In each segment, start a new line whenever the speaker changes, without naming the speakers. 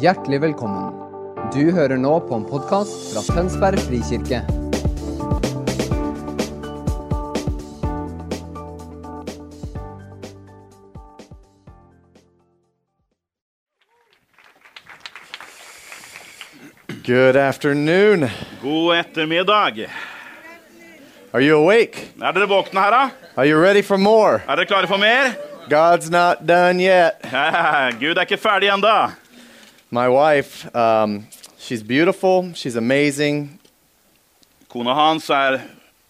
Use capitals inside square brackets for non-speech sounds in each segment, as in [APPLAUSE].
Hjertelig velkommen. Du hører nå på en podkast fra Tønsberg frikirke.
Good afternoon.
God ettermiddag.
Are you awake?
Er dere våkne her, da?
Are you ready for more?
Er dere klare for mer? [LAUGHS]
God's not done yet.
Gud er ikke ferdig ennå.
My wife, um, she's beautiful, she's amazing.
Kona hans er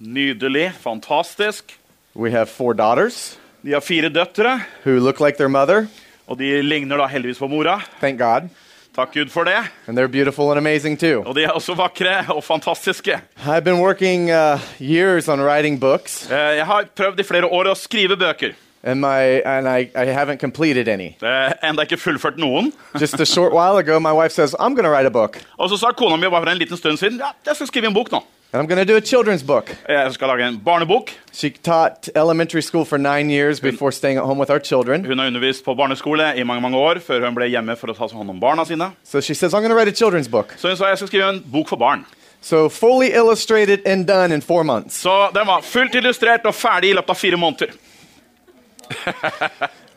nydelig, fantastisk.
We have four daughters
De har fire døtre,
who look like their mother.
og de ligner da heldigvis på mora.
Thank God.
Takk Gud for det.
And they're beautiful and amazing too.
Og de er også vakre og fantastiske.
I've been working uh, years on writing books,
Eh, Jeg har prøvd i flere år å skrive bøker.
and, my, and I, I haven't completed any.
Eh, Enda ikke fullført noen.
Just a short while ago, my wife says, I'm going to write a book.
Og så sa kona mi bare for en liten stund siden ja, jeg skal skrive en bok nå. Eh,
And I'm going to do a children's book.
Jeg skal lage en barnebok.
She taught elementary school for nine years before staying at home with our children.
Hun har undervist på barneskole i mange mange år før hun ble hjemme for å ta hånd om barna sine.
So she says, I'm going to write a children's book.
Så hun sa jeg skal skrive en bok for barn.
So fully illustrated and done in four months.
Så den var fullt illustrert og ferdig i løpet av fire måneder.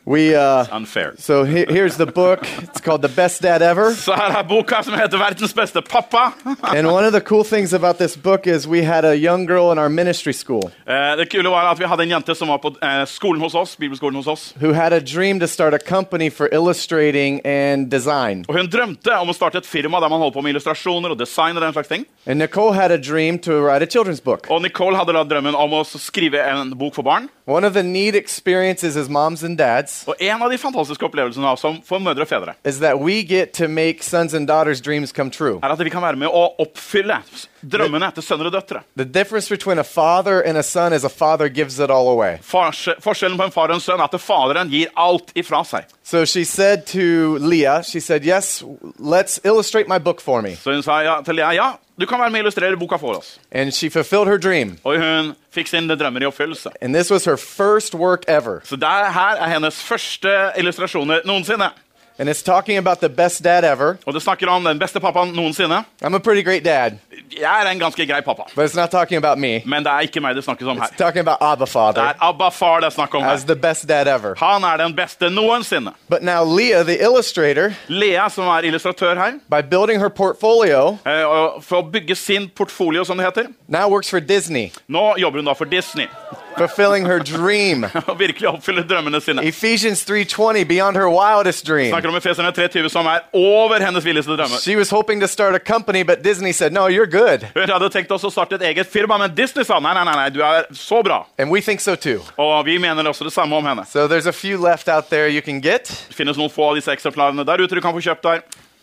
We uh,
Unfair.
so he- here's the book. It's called The Best Dad Ever.
Så her er boka som heter 'Verdens beste pappa'.
And one of the cool things about this book is we had a young girl in our ministry school
Eh, Det kule var at vi hadde en jente som var på eh, skolen hos oss, bibelskolen hos oss.
who had a dream to start a company for illustrating and design.
Og hun drømte om å starte et firma der man holdt på med illustrasjoner og design. Og den slags ting.
And Nicole had a dream to write a children's book.
Og Nicole hadde da drømmen om å skrive en bok for barn.
One of the neat experiences as moms and dads
Og en av de fantastiske opplevelsene da, som for mødre og fedre
is that we get to make sons and daughters' dreams come true.
er at vi kan være med å oppfylle drømmene til sønner og døtre.
The difference between a father and a son is a father gives it all away.
Fars- Forskjellen på en far og en sønn er at faderen gir alt ifra seg.
So she said to Leah, she said, Yes, let's illustrate my book for me.
Så hun sa ja, til Lea ja, du kan være med og illustrere boka for oss.
And she fulfilled her dream.
Og hun fikk sine drømmer i oppfyllelse.
And this was her first work ever.
Så der, her er hennes første illustrasjoner noensinne.
And it's talking about the best dad ever.
Og det snakker om den beste pappaen noensinne.
I'm a pretty great dad,
Jeg er en ganske grei pappa,
but it's not talking about me.
men det er ikke meg det snakkes om
It's
her.
talking about Abba
Det
Father
er Abba far det er snakk om
as
her.
the best dad ever.
Han er den beste noensinne.
But now Leah, the illustrator,
Lea, som er illustratør her,
by building her portfolio,
eh, og for å bygge sin portfolio, som det heter
now works for Disney,
Nå jobber hun da for Disney [LAUGHS]
fulfilling her dream.
og virkelig oppfyller drømmene sine.
Ephesians 3:20 beyond her wildest dream.
Snakker om Efeserne 3.20, som er over hennes villeste drømmer.
She was hoping to start a company, but Disney said, "No, you're good."
Hun hadde tenkt oss å starte et eget firma, men Disney sa nei, nei, nei, nei, du er så bra.
And we think so too.
Og vi mener også det samme om henne.
So there's a few left out there you can get.
Det finnes noen få av disse eksemplarene der ute du kan få kjøpt der.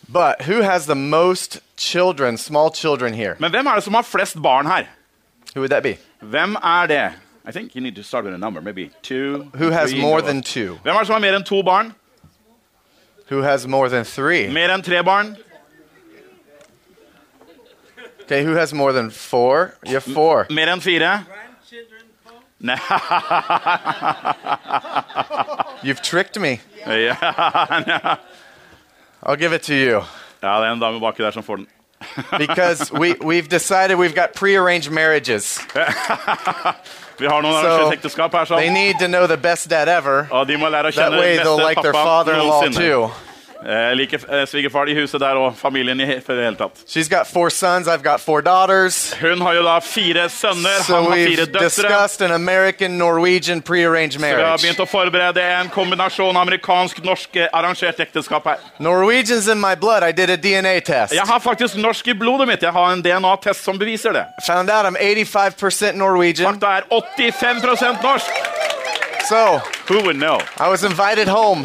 But who has the most children, small children here?
Men hvem er det som har flest barn her?
Who would that be?
Hvem er det? I think you need to start with a number, maybe two.
Who has
three,
more
no.
than two?
Hvem er det som har mer enn to barn?
Who has more than three?
Mer enn tre barn?
Okay, who has more than four? You have four.
Mer enn fire? Nei,
You've tricked me.
ja, [LAUGHS]
I'll give it to you.
Ja, det er en dame baki der som får den.
Because we, we've decided we've got prearranged marriages.
Vi har noen arrangert ekteskap her,
They
sånn.
need to know the best dad ever.
Og de må lære å
That
kjenne
way
den
they'll like
beste
their
pappa
father in law
noensinne.
too.
Jeg liker eh, svigerfar i huset der, og familien i he- for det hele tatt.
She's got four sons, I've got four daughters.
Hun har jo da fire sønner, han
So
har fire
we've
døtre.
discussed an American Norwegian prearranged
Så vi har
marriage.
begynt å forberede en kombinasjon amerikansk-norsk eh, arrangert ekteskap her.
Norwegian's in my blood. I did a DNA test.
Jeg har faktisk norsk i blodet mitt. Jeg har en DNA-test som beviser det.
Found out I'm 85% Norwegian.
Fakta er 85 norsk!
So
Who would know? [LAUGHS]
I was invited home.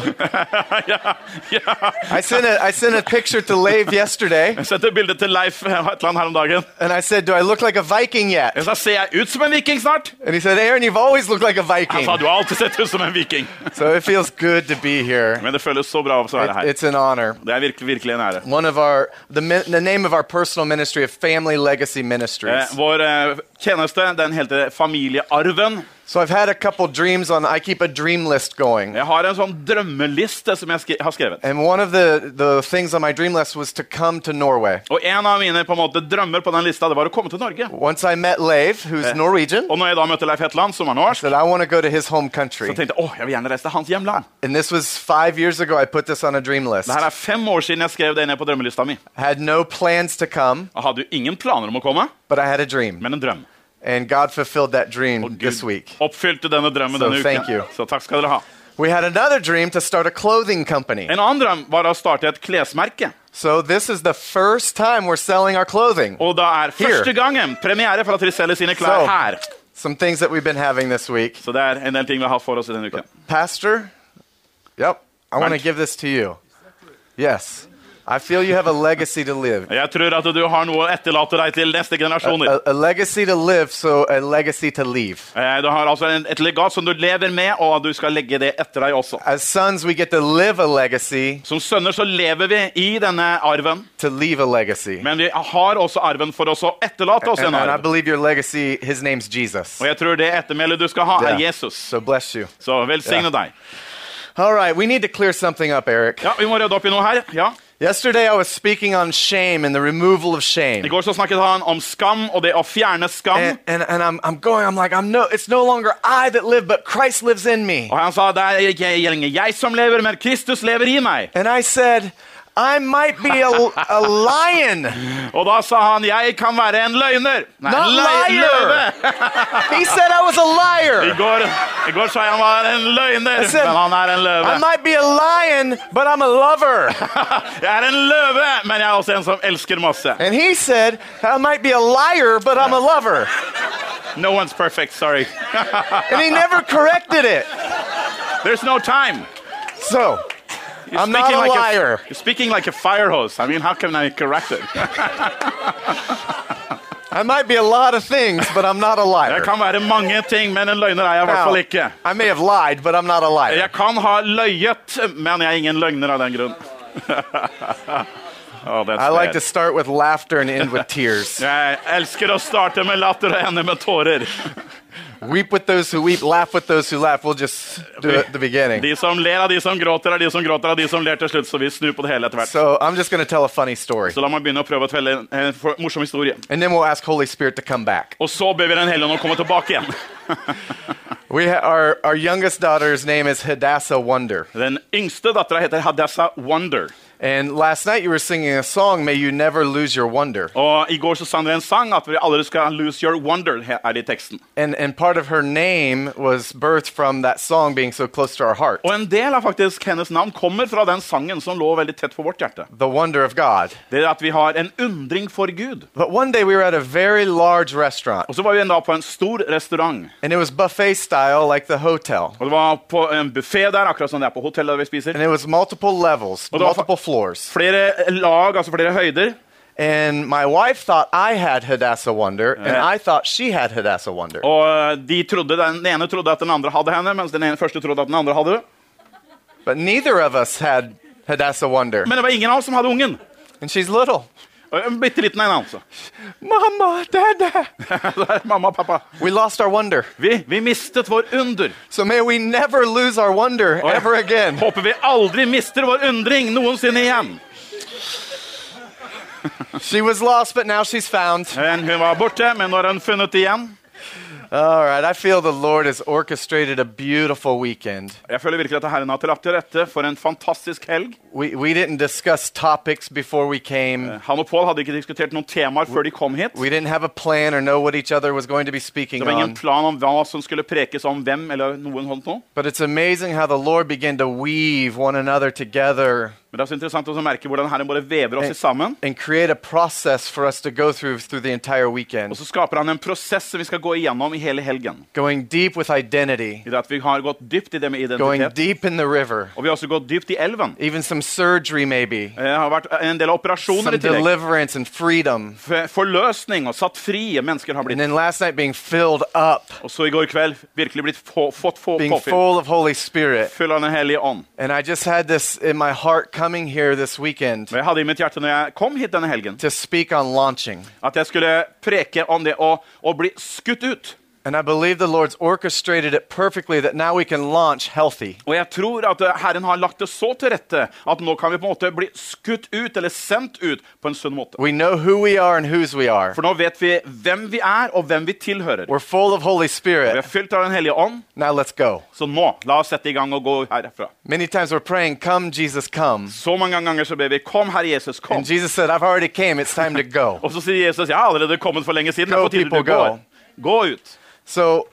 ja, ja.
I sent a, I sent a picture to Lave yesterday,
Jeg sendte bilde til Leif eh, et eller annet her om dagen.
and I said, "Do I look like a Viking yet?"
Jeg sa, Ser jeg ut som en viking snart?
And he said, "Aaron, you've always looked like a Viking."
Jeg sa du har alltid sett ut som en viking.
So it feels good to be here.
Men det føles så bra å
It-
være her.
it's an honor.
Det er virkelig, virkelig en ære.
One of our the min- the name of our personal ministry of Family Legacy Ministries.
Eh, Vår eh, tjeneste den heter Familiearven.
So I've had a couple dreams on. I keep a dream list going,
Jeg har en sånn drømmeliste som jeg skri har skrevet.
and one of the the things on my dream list was to come to Norway.
Og en av mine på en måte, drømmer på den lista det var å komme til Norge.
Once I met Leif, who's Norwegian,
Og når jeg da møtte Leif Hetland, som er norsk,
that I want to go to his home
så
country.
tenkte jeg åh, jeg vil gjerne reise til hans hjemland.
And this was five years ago. I put this on a dream list.
Det her er fem år siden jeg skrev det ned på drømmelista mi.
Had no plans to come,
Jeg hadde jo ingen planer om å komme,
but I had a dream,
men en drøm.
and God fulfilled that
Og
dream this
Gud
week.
oppfylte denne drømmen
So
denne
thank you.
uken. Så takk skal dere ha.
We had another dream to start a clothing company.
En annen drøm var å starte et klesmerke.
So this is the first time we're selling our clothing.
Og da er
Here.
første gangen premiere for at de selger sine klær
So.
her.
Some things that we've been having this week.
Så det er en del ting vi har hatt for oss i denne uken.
Pastor, yep, I want to
Thank-
give this to you. Yes. I feel you have a legacy to live.
Jeg tror at du har noe å etterlate deg til neste generasjoner.
A, a legacy to live, so a legacy to leave.
Eh, Du har altså en- et legat som du lever med, og du skal legge det etter deg også.
As sons, we get to live a legacy,
Som sønner så lever vi i denne arven,
to leave a legacy.
men vi har også arven for oss å etterlate oss
And,
en
and I
arv.
believe your legacy, his name's Jesus.
Og jeg tror det ettermælet du skal ha, er
Yeah.
Jesus.
So bless you.
Så velsigne
Ja.
deg.
All right, we need to clear something up, Eric.
Ja, Vi må rydde opp i noe her. Ja.
Yesterday, I was speaking on shame and the removal of shame.
I går så snakket han om skam og det å fjerne skam.
and, and, and I'm, I'm going, I'm like, I'm no, it's no longer I that live, but Christ lives in me.
Og han sa det er ikke lenger jeg som lever, men Kristus lever i meg.
And I said, I might be a, a lion.
Og da sa han jeg kan være en løgner. Nei,
Not
en lø-
liar.
løve.
He said I was
I
a liar.
går, I går sa jeg han var en løgner,
Jeg ser-
men han er en løve.
I might be a lion, but I'm a lover.
[LAUGHS] Jeg er en løve, men jeg er også en som elsker masse.
And he said, I might be a liar, but I'm a lover.
No one's perfect, sorry.
And he never corrected it.
[LAUGHS] There's no time.
So,
You're
I'm not
speaking
a
like
liar.
you're speaking like a fire hose. I mean, how can I correct it?
I might be a lot of things, but I'm not a
Jeg
liar.
kan være mange ting, men en løgner er jeg i hvert
Now,
fall ikke.
I may have lied, but I'm not a liar.
Jeg kan ha løyet, men jeg er ingen løgner av den grunn. [LAUGHS] oh, that's
I like
bad.
to start with laughter and end
[LAUGHS]
with tears.
Jeg elsker å starte med latter og ende med tårer.
Weep with those who weep, laugh with those who laugh. We'll just do it at the beginning.
De som ler av de som gråter, er de som gråter av de som ler til slutt. Så vi snur på det hele etter hvert.
So I'm just going to tell a funny story.
Så la meg begynne å prøve å fortelle en, en for- morsom historie.
And then we'll ask Holy Spirit to come back.
Og så ber vi Den hellige ånd å komme tilbake igjen.
We ha- our, our youngest daughter's name is Hadassah Wonder.
Den yngste dattera heter Hadassah Wonder.
And last night you were singing a song, May You Never Lose Your Wonder.
Og i går så sang dere en sang at vi aldri skal lose your wonder, he- er det i teksten.
And, and part of her name was birthed from that song being so close to our heart.
Og en del av faktisk hennes navn kommer fra den sangen som lå veldig tett på vårt hjerte.
The wonder of God.
Det er at vi har en undring for Gud.
But one day we were at a very large restaurant,
Og så var vi en dag på en stor restaurant.
and it was buffet style like the hotel.
Og det var på en buffé der, akkurat som det er på hotellet der vi spiser.
And it was multiple levels,
Hold on.
multiple floors.
Flere lag, altså flere høyder.
And my wife thought I had Hadassah Wonder, and
Yeah.
I thought she had Hadassah Wonder.
Og eh, de trodde, den ene trodde at den andre hadde henne, mens den ene første trodde at den andre hadde det.
But neither of us had Hadassah Wonder.
Men det var ingen av oss som hadde ungen.
And she's little.
Og En bitte liten en, altså.
Mama, Dada.
[LAUGHS] Så er det mamma og pappa.
We lost our wonder.
Vi, vi mistet vår under.
So may we never lose our wonder
Og jeg
ever again.
Håper vi aldri mister vår undring noensinne igjen.
She was lost, but now she's found.
Men hun var borte, men nå er hun funnet igjen.
All right, I feel the Lord has orchestrated a beautiful weekend.
Jeg føler virkelig at Herren har til lagt til rette for en fantastisk helg.
We, we didn't discuss topics before we came.
Han og Paul hadde ikke diskutert noen temaer før de kom hit.
We didn't have a plan or know what each other was going to be speaking
Det var ingen
on.
plan om hva som skulle prekes om hvem, eller noen holdt noe.
But it's amazing how the Lord began to weave one another together
Men det er så interessant å merke hvordan Herren bare vever oss i sammen.
and create a process for us to go through through the entire
Og
weekend.
så skaper han en prosess som vi skal gå igjennom i hele helgen.
Going deep with identity,
I det at vi har gått dypt i det med
going
identitet.
deep in the river,
Og vi har også gått dypt i elven.
even some surgery maybe,
Det har vært en del
some
operasjoner i tillegg.
deliverance and freedom.
F- Forløsning og satt frie mennesker har
And
blitt.
then last night being filled up,
Og så i går kveld virkelig blitt få, fått få,
being
påfyll.
full of Holy Spirit.
Full av Den hellige ånd.
And I just had this in my heart coming here this weekend
Og jeg hadde i mitt hjerte når jeg kom hit denne helgen,
to speak on launching.
at jeg skulle preke om det å, å bli skutt ut.
And I believe the Lord's orchestrated it perfectly that now we can launch healthy.
Og jeg tror at eh, Herren har lagt det så til rette at nå kan vi på en måte bli skutt ut, eller sendt ut, på en sunn måte.
We know who we are and whose we are.
For nå vet vi hvem vi er, og hvem vi tilhører.
We're full of Holy
Vi
Spirit.
er fylt av Den hellige ånd,
Now let's go.
så nå, la oss sette i gang og gå herfra.
Many times we're praying, Come, Jesus, come.
Så mange ganger så ber vi 'Kom, Herre Jesus, kom'.
And Jesus said, I've already came. It's time to go.
[LAUGHS] Og så sier Jesus 'Jeg har allerede kommet for lenge siden'. Det er
Go,
på tide du
people,
går.
go.
Gå ut.
So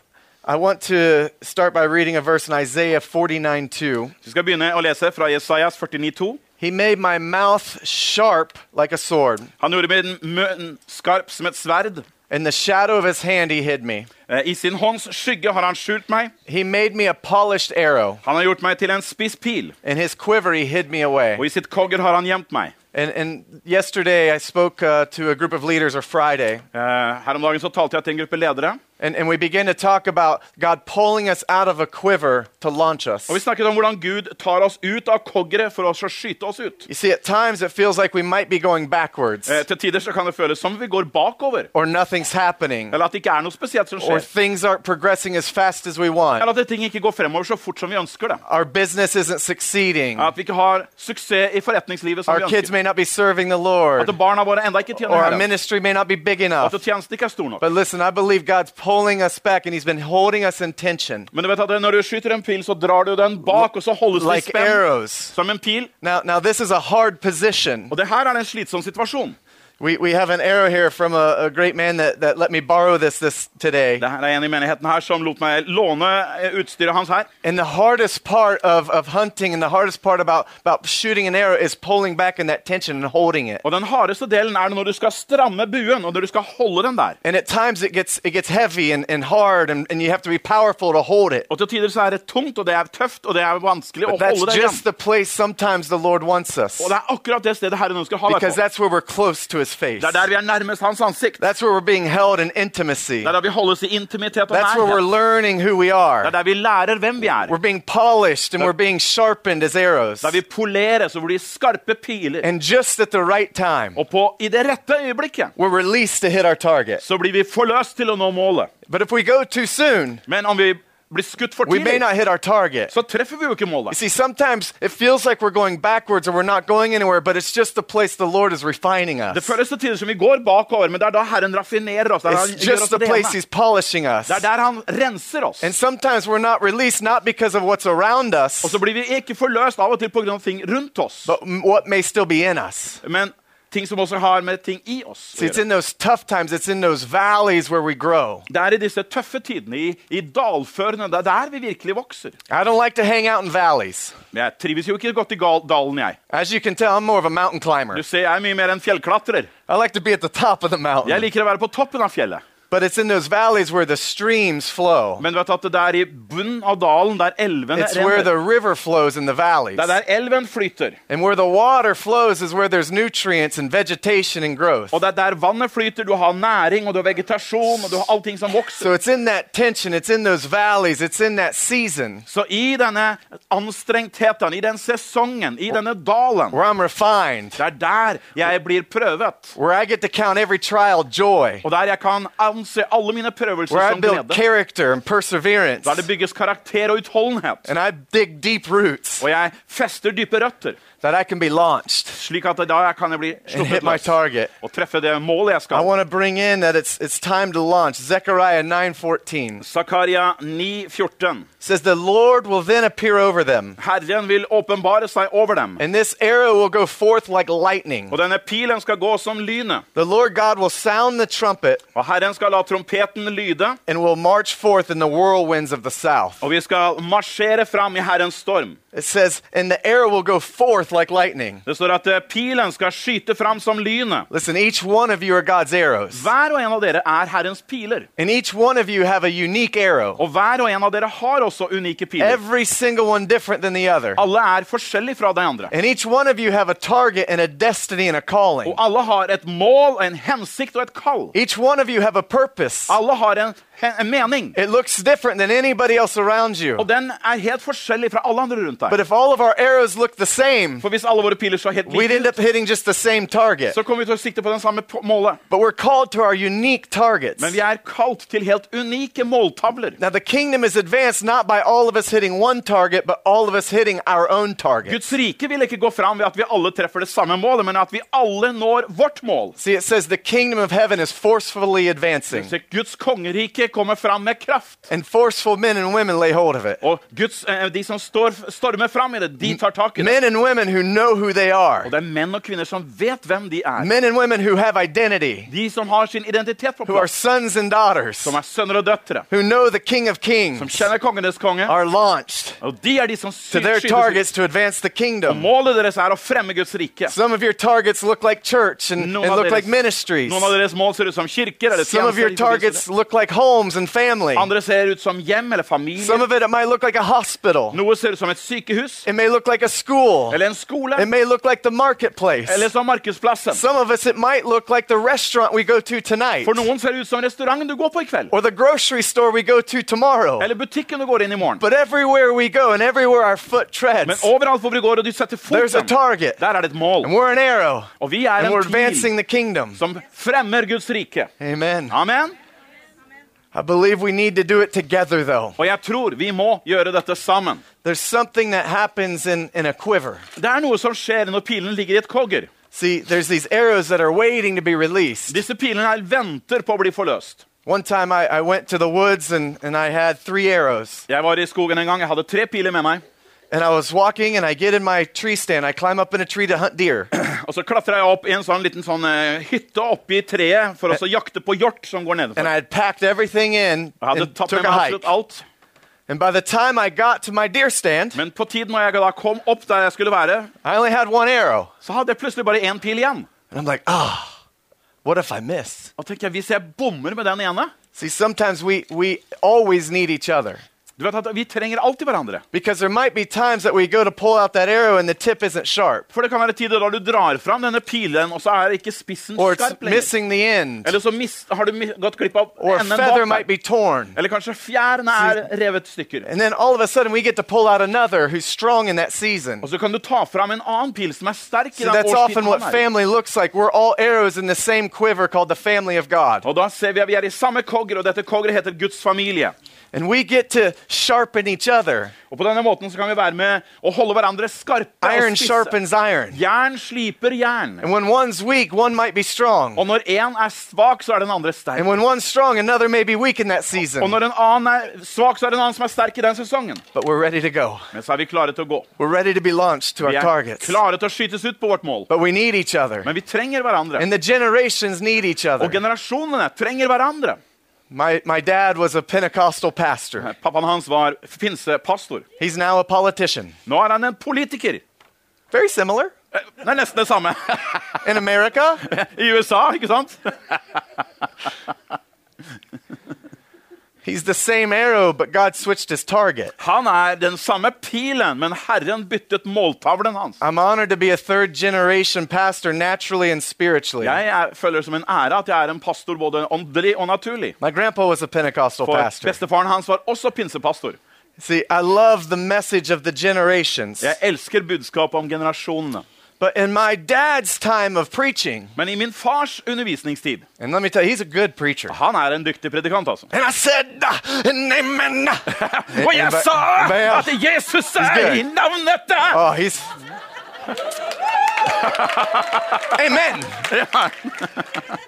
I want to start by reading a verse in Isaiah 49 2.
Vi skal begynne å lese fra Jesajas 49,2.
He made my mouth sharp like a sword.
Han gjorde min munn skarp som et sverd.
In the shadow of his hand, he hid me.
Eh, I sin hånds skygge har han skjult meg.
He made me a polished arrow.
Han har gjort meg til en spiss pil,
In his quiver, he hid me away.
og i sitt kogger har han gjemt meg.
And, and yesterday, I spoke uh, to a group of leaders, or Friday,
Eh, Her om dagen så talte jeg til en gruppe ledere,
and, and we began to talk about God pulling us out of a quiver to launch us.
og vi snakket om hvordan Gud tar oss ut av koggeret for å så skyte oss ut.
You see, at times it feels like we might be going backwards,
Eh, Til tider så kan det føles som vi går bakover,
or nothing's happening,
eller at det ikke er noe spesielt som
or
skjer.
things aren't progressing as fast as we want.
Eller at ting ikke går fremover så fort som vi ønsker det.
Our business isn't succeeding.
At vi ikke har suksess i forretningslivet som
Our
vi
kids
ønsker.
may not be serving the Lord,
At barna våre enda ikke
or
tjener
our
Herren.
ministry may not be big
At
enough.
tjenesten ikke er stor nok.
But listen, I believe God's pulling us back, and He's been holding us in tension
Men du vet at når du skyter en pil, så drar du den bak, og så holdes det i
like
spenn
arrows.
som en pil.
Now, now this is a hard position.
Og det her er en slitsom situasjon.
We, we have an arrow here from a, a great man that, that let me borrow this this today.
Det her er en i menigheten her som lot meg låne eh, utstyret hans her.
And the hardest part of, of hunting and the hardest part about, about shooting an arrow is pulling back in that tension and holding it.
Og den hardeste delen er når du skal stramme buen, og når du skal holde den der.
And at times it gets, it gets heavy and, and hard, and, and you have to be powerful to hold it.
Og til tider så er det tungt, og det er tøft, og det er vanskelig å
That's
holde det igjen.
just the place sometimes the Lord wants us
Og det er akkurat det stedet Herren ønsker å ha deg
because
på.
that's where we're close to His face.
Det er der vi er nærmest hans ansikt.
That's where we're being held in intimacy.
Det er der vi holdes i intimitet og
That's where we're
nærhet.
learning who we
Det er
are.
der vi lærer hvem vi er.
We're being polished and we're being sharpened as arrows.
Der vi poleres og blir skarpe piler.
And just at the right time,
Og på i det rette øyeblikket
we're released to hit our target.
så blir vi forløst til å nå målet.
But if we go too soon,
Men om vi blir skutt for
we may
tidlig,
not hit our target.
så treffer vi jo ikke
You
målet.
see, sometimes it feels like we're going backwards or we're not going anywhere, but it's just the place the Lord is refining
Det
us.
føles til tider som vi går bakover, men det er da Herren raffinerer oss. Det er, da han
It's
gjør
just
oss
the place
rene.
He's polishing us.
det er der han renser oss.
And sometimes we're not released not because of what's around
Og
us,
så blir vi ikke forløst av og til pga. ting rundt oss,
but m- what may still be in us.
men ting som også har med ting i oss å
See, it's
gjøre.
in those tough times, it's in those valleys where we grow.
Det er i disse tøffe tidene, i, i dalførene, det er der vi virkelig vokser.
I don't like to hang out in valleys.
Men jeg trives jo ikke godt i gal dalen, jeg.
As you can tell, I'm more of a mountain
Du
climber.
ser, Jeg er mye mer en fjellklatrer.
I like to be at the top of the
Jeg
mountain.
liker å være på toppen av fjellet.
But it's in those valleys where the streams flow.
Men vet du at det er i bunnen av dalen, der elvene
It's where
renner.
the river flows in the valleys.
Det er der elven flyter,
And where the water flows is where there's nutrients and vegetation and growth.
og det er der vannet flyter. Du har næring, og du har vegetasjon, og du har allting som vokser.
So it's in that tension, it's in those valleys, it's in that season
Så i denne anstrengtheten, i den sesongen, i denne dalen,
where I'm refined,
det er der jeg blir prøvet.
where I get to count every trial joy,
Og der jeg kan anse alle mine prøvelser
where I
som
build
glede.
character and perseverance,
Der det bygges karakter og utholdenhet.
and I dig deep roots
Og jeg fester dype røtter,
that I can be launched
slik at da kan jeg bli
and hit
sluppet
my
løs
target.
og treffe det målet jeg
I
skal.
want to bring in that it's it's time to launch. Zechariah 9:14
Zakaria 9, 14.
says the Lord will then appear over them,
Herren vil åpenbare seg over dem,
and this arrow will go forth like lightning.
og denne pilen skal gå som lynet.
The Lord God will sound the trumpet
Og Herren skal la trompeten lyde,
and will march forth in the whirlwinds of the south.
og vi skal marsjere fram i Herrens storm.
It says, and the arrow will go forth like lightning.
Det står at eh, pilen skal skyte fram som lynet.
Listen, each one of you are God's arrows,
Hver og en av dere er Herrens piler,
and each one of you have a unique arrow.
og hver og en av dere har også unike piler.
Every single one different than the other.
Alle er forskjellige fra de andre,
And each one of you have a target and a destiny and a calling.
og alle har et mål, en hensikt og et kall.
Each one of you have a purpose.
Alle har en he- en mening.
It looks different than anybody else around you.
Og den er helt forskjellig fra alle andre rundt
But
deg.
if all of our arrows look the same,
For hvis alle våre piler så helt
we'd end
like ut,
up hitting just the same target.
så kommer vi til å sikte på den samme po- målet.
But we're called to our unique targets.
Men vi er kalt til helt unike måltavler.
Now, the kingdom is advanced not by all of us hitting one target, but all of us hitting our own target.
Guds rike vil ikke gå fram ved at vi alle treffer det samme målet, men at vi alle når vårt mål.
See, it says the kingdom of heaven is forcefully advancing,
Så Guds kongerike kommer fram med kraft.
and forceful men and women lay hold of it.
Og Guds, eh, de som står, stormer fram i det, de tar tak i det.
Men and women who know who they are,
Og det er menn og kvinner som vet hvem de er.
men and women who have identity,
De som har sin identitet på
who are
plass.
sons and daughters,
Som er sønner og døtre.
who know the King of
Som
Kings,
kjenner kongenes konge.
are launched
Og de er de som sy-
to their
skyter sitt-
targets to advance the kingdom.
Målet deres er å fremme Guds rike.
Some of your targets look like church and, and
Noen av,
look like
deres,
ministries.
noen av deres mål ser ut som kirker eller
Some of your
tjenester, ikke
targets
minst.
look like homes and family.
Andre ser ut som hjem eller familie.
Some of it, it might look like a hospital.
Noe ser ut som et sykehus
It may look like a school.
eller en skole.
It may look like the marketplace.
Eller som markedsplassen.
Some of us, it might look like the restaurant we go to tonight,
For noen ser det ut som restauranten du går på i kveld.
or the grocery store we go to tomorrow.
Eller butikken du går inn i morgen.
But everywhere we go and everywhere our foot
Men
treads,
overalt hvor vi går og du setter
there's a
foten,
target.
der er det et mål.
And we're an arrow.
Og vi er
And we're
en
advancing the
pil
kingdom.
som fremmer Guds rike.
Amen.
Amen.
I believe we need to do it together, though.
Og jeg tror vi må gjøre dette sammen.
There's something that happens in, in a quiver.
Det er noe som skjer når pilen ligger i et kogger.
See, there's these arrows that are waiting to be released.
Disse pilene her venter på å bli forløst.
One time I, I went to the woods and, and I had three arrows.
Jeg var i skogen en gang. Jeg hadde tre piler med meg.
And I was walking and I get in my tree stand. I climb up in a tree to hunt deer. [CLEARS THROAT]
Og så klatra jeg opp i en sånn liten sånn eh, hytte oppi treet for å
Eh,
så jakte på hjort som går
And
nedenfor.
I had packed everything in
Jeg hadde
and
tatt
took
med
a
meg
hike.
absolutt alt.
And by the time I got to my deer stand,
Men på tiden når jeg da kom opp der jeg skulle være,
I only had one arrow.
så hadde jeg plutselig bare én pil igjen.
And I'm like, ah, what if I miss?
Og tenker jeg, hvis jeg bommer med den ene
See, sometimes we, we always need each other.
Du vet at Vi trenger alltid hverandre.
Because there might be times that we go to pull out that arrow and the tip isn't sharp,
For det kan være tider da du drar fram denne pilen, og så er ikke spissen
or it's
skarp lenger.
missing the end,
Eller så mis har du mi gått glipp av
or a
enden
feather might be
bak. der.
torn.
Eller kanskje fjærene er revet stykker.
And then all of a sudden we get to pull out another who's strong in that season.
Og så kan du ta fram en annen pil som er sterk. i
So
den
that's often
årstiden
what
han er i.
family looks like. We're all arrows in the same quiver called the family of God.
Og da ser vi at vi er i samme kogger, og dette koggeret heter Guds familie.
And we get to sharpen each other.
Og på denne måten så kan vi være med å holde hverandre skarpe
Iron
og spisse.
sharpens iron.
Jern sliper jern.
And when one's weak, one might be strong.
Og når én er svak, så er den andre
And
sterk.
when one's strong, another may be weak in that
Og
season.
når en annen er svak, så er det en annen som er sterk i den sesongen.
But we're ready to go.
Men så er vi klare til å gå.
We're ready to be launched to our
Vi er
targets.
klare til å skytes ut på vårt mål.
But we need each other.
Men vi trenger hverandre.
And the generations need each other.
Og generasjonene trenger hverandre.
My, my dad was a Pentecostal pastor.
Pappaen hans var pinsepastor.
He's now a politician.
Nå er han en politiker.
Very similar
Eh, Det er nesten det samme [LAUGHS]
in America.
i USA, ikke sant?
He's the same arrow, but God switched his target.
Han er den samme pilen, men Herren byttet måltavlen hans.
I'm honored to be a third generation pastor naturally and spiritually.
Jeg er, føler det som en ære at jeg er en pastor både åndelig og naturlig.
My grandpa was a Pentecostal
For
pastor.
bestefaren hans var også pinsepastor.
See, I love the message of the generations.
Jeg elsker budskapet om generasjonene.
But in my dad's time of preaching,
Men i min fars undervisningstid
and let me tell you, he's a good preacher.
Han er en dyktig predikant, altså.
And I said, "Ah, and amen.
Og jeg
Eh, Hva-
sa
hva-
at Jesus er
good.
i navnet der!
Oh, he's. amen.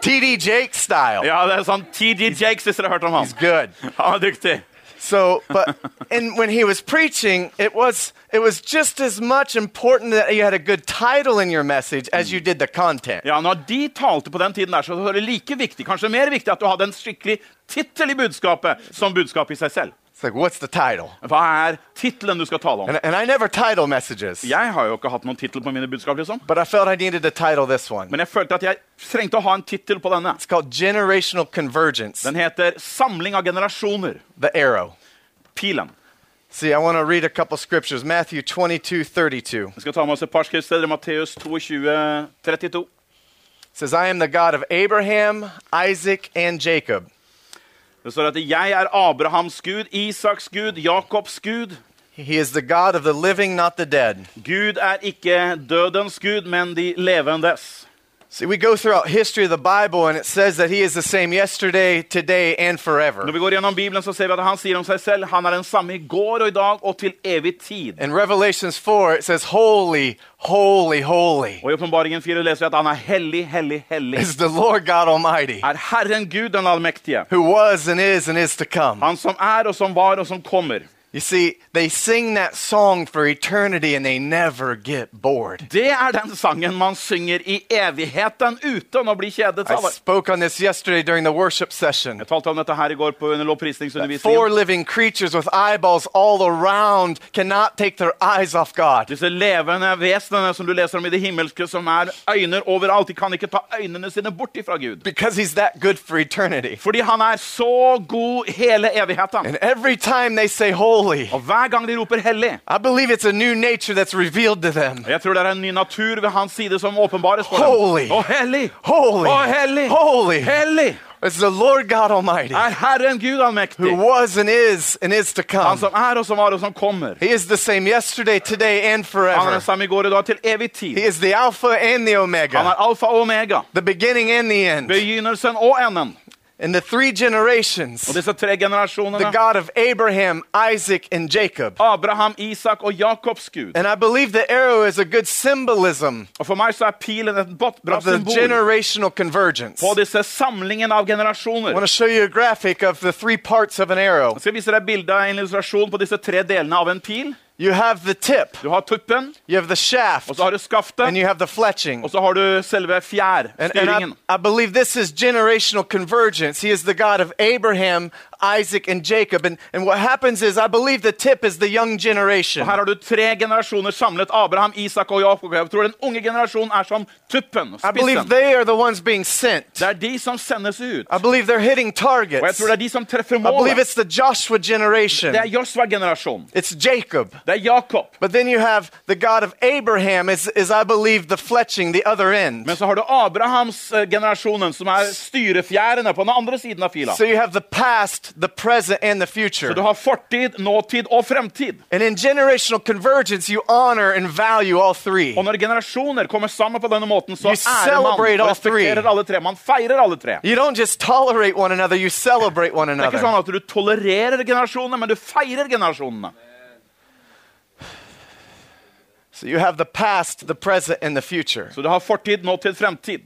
TD Jake style.
Ja, det er sånn TG Jakes, hvis dere har hørt om han.
He's good.
Han er dyktig.
So, but and when he was preaching, it was it was just as much important that you had a good title in your message as you did the content.
Ja, når de talte på den tiden der, så var det like viktig, kanskje mer viktig, at du hadde en skikkelig tittel i budskapet som budskapet i seg selv.
It's like, what's the title?
Hva er tittelen du skal tale om?
And, and I never title messages,
Jeg har jo ikke hatt noen tittel på mine budskap, liksom.
but I felt I needed to title this one.
Men jeg følte at jeg trengte å ha en tittel på denne.
It's called Generational Convergence,
Den heter 'Samling av generasjoner'.
the arrow.
Pilen.
See, I want to read a couple scriptures. Matthew 22, 32
Vi skal ta med oss et par skriftsteder. Matteus 22, 32.
says, I am the God of Abraham, Isaac, and Jacob.
Det står at 'Jeg er Abrahams Gud, Isaks Gud, Jakobs Gud'.
He is the God of the living, not the dead.
Gud er ikke dødens Gud, men de levendes.
See, we go throughout history of the Bible and it says that he is the same yesterday, today, and
Når
forever.
vi går gjennom Bibelen, så ser vi at han sier om seg selv han er den samme i går og i dag og til evig tid.
In Revelations 4, it says, Holy, holy, holy
Og I Åpenbaringen 4 leser vi at han er hellig, hellig, hellig.
is the Lord God Almighty,
Er Herren Gud den allmektige?
who was and is and is to come.
Han som er og som var og som kommer.
You see, they sing that song for eternity and they never get bored.
Det er den sangen man synger i evigheten uten å bli kjedet
I
av.
spoke on this yesterday during the worship session.
Jeg talte om dette her i går på under
Four
lovprisningsundervisningen.
living creatures with eyeballs all around cannot take their eyes off God.
Disse levende vesenene som du leser om i det himmelske, som er øyner overalt, de kan ikke ta øynene sine bort ifra Gud.
because he's that good for eternity.
Fordi han er så god hele evigheten.
And every time they say holy,
Og hver gang de roper hellig
I believe it's a new nature that's revealed to them.
og Jeg tror det er en ny natur ved hans side som åpenbares for
Holy.
dem. Og hellig!
Holy.
Og hellig!
Holy.
Hellig
It's the Lord God Almighty
er Herren Gud
who
allmektig.
was and is and is to
Han
come.
som er og som var og som kommer.
He is the same yesterday, today, and
Han er den
forever.
samme i går og i dag til evig tid.
He is the Alpha and the
Han
Omega,
er alfa og omega.
the beginning and the end.
Begynnelsen og enden.
In the three generations,
Og disse tre
the
generasjonene.
God of Abraham, Isaac, and Jacob.
Abraham, Isak og Jakobs Gud.
And I believe the arrow is a good symbolism
Og for meg så er pilen et bot- bra
of the
symbol
generational convergence.
på disse samlingen av generasjoner.
I want to show you a graphic of the three parts of an arrow.
Jeg skal vise deg bilde av en illustrasjon på disse tre delene av en pil.
You have the tip,
Du har tuppen,
you have the shaft,
og så har du
and
skaftet,
you have the fletching.
og så har du selve
And, and
fjærstyringen.
I, I believe this is generational convergence. He is the God of Abraham, Isaac, and Jacob. And, and what happens is, I believe the tip is the young generation.
Her har du tre generasjoner samlet. Abraham, Isak og Jakob. Jeg tror den unge generasjonen er som tuppen,
I believe
spissen.
they are the ones being sent.
Det er de som sendes ut.
I believe they're hitting
Og jeg
targets.
tror det er de som treffer
I believe
målet.
it's the Joshua generation.
Det er Josva-generasjonen.
It's Jacob.
Det er Jakob.
But then you have the God of Abraham, is, is I believe the fletching, the other end.
Men så har du Abrahams-generasjonen, som er styrefjærene på den andre siden av fila.
So you have the past, the present, and the future.
Du har fortid, nåtid og fremtid.
And in generational convergence, you honor and value all three.
Og når generasjoner kommer sammen på denne måten, så
You
ærer man
celebrate
og
all three.
respekterer alle tre. Man feirer alle tre.
You don't just tolerate one another, you celebrate one
Det er ikke sånn
another.
at du tolererer generasjonene, men du feirer generasjonene.
So you have the past, the present, and the future.
Så du har fortid, nåtid, fremtid.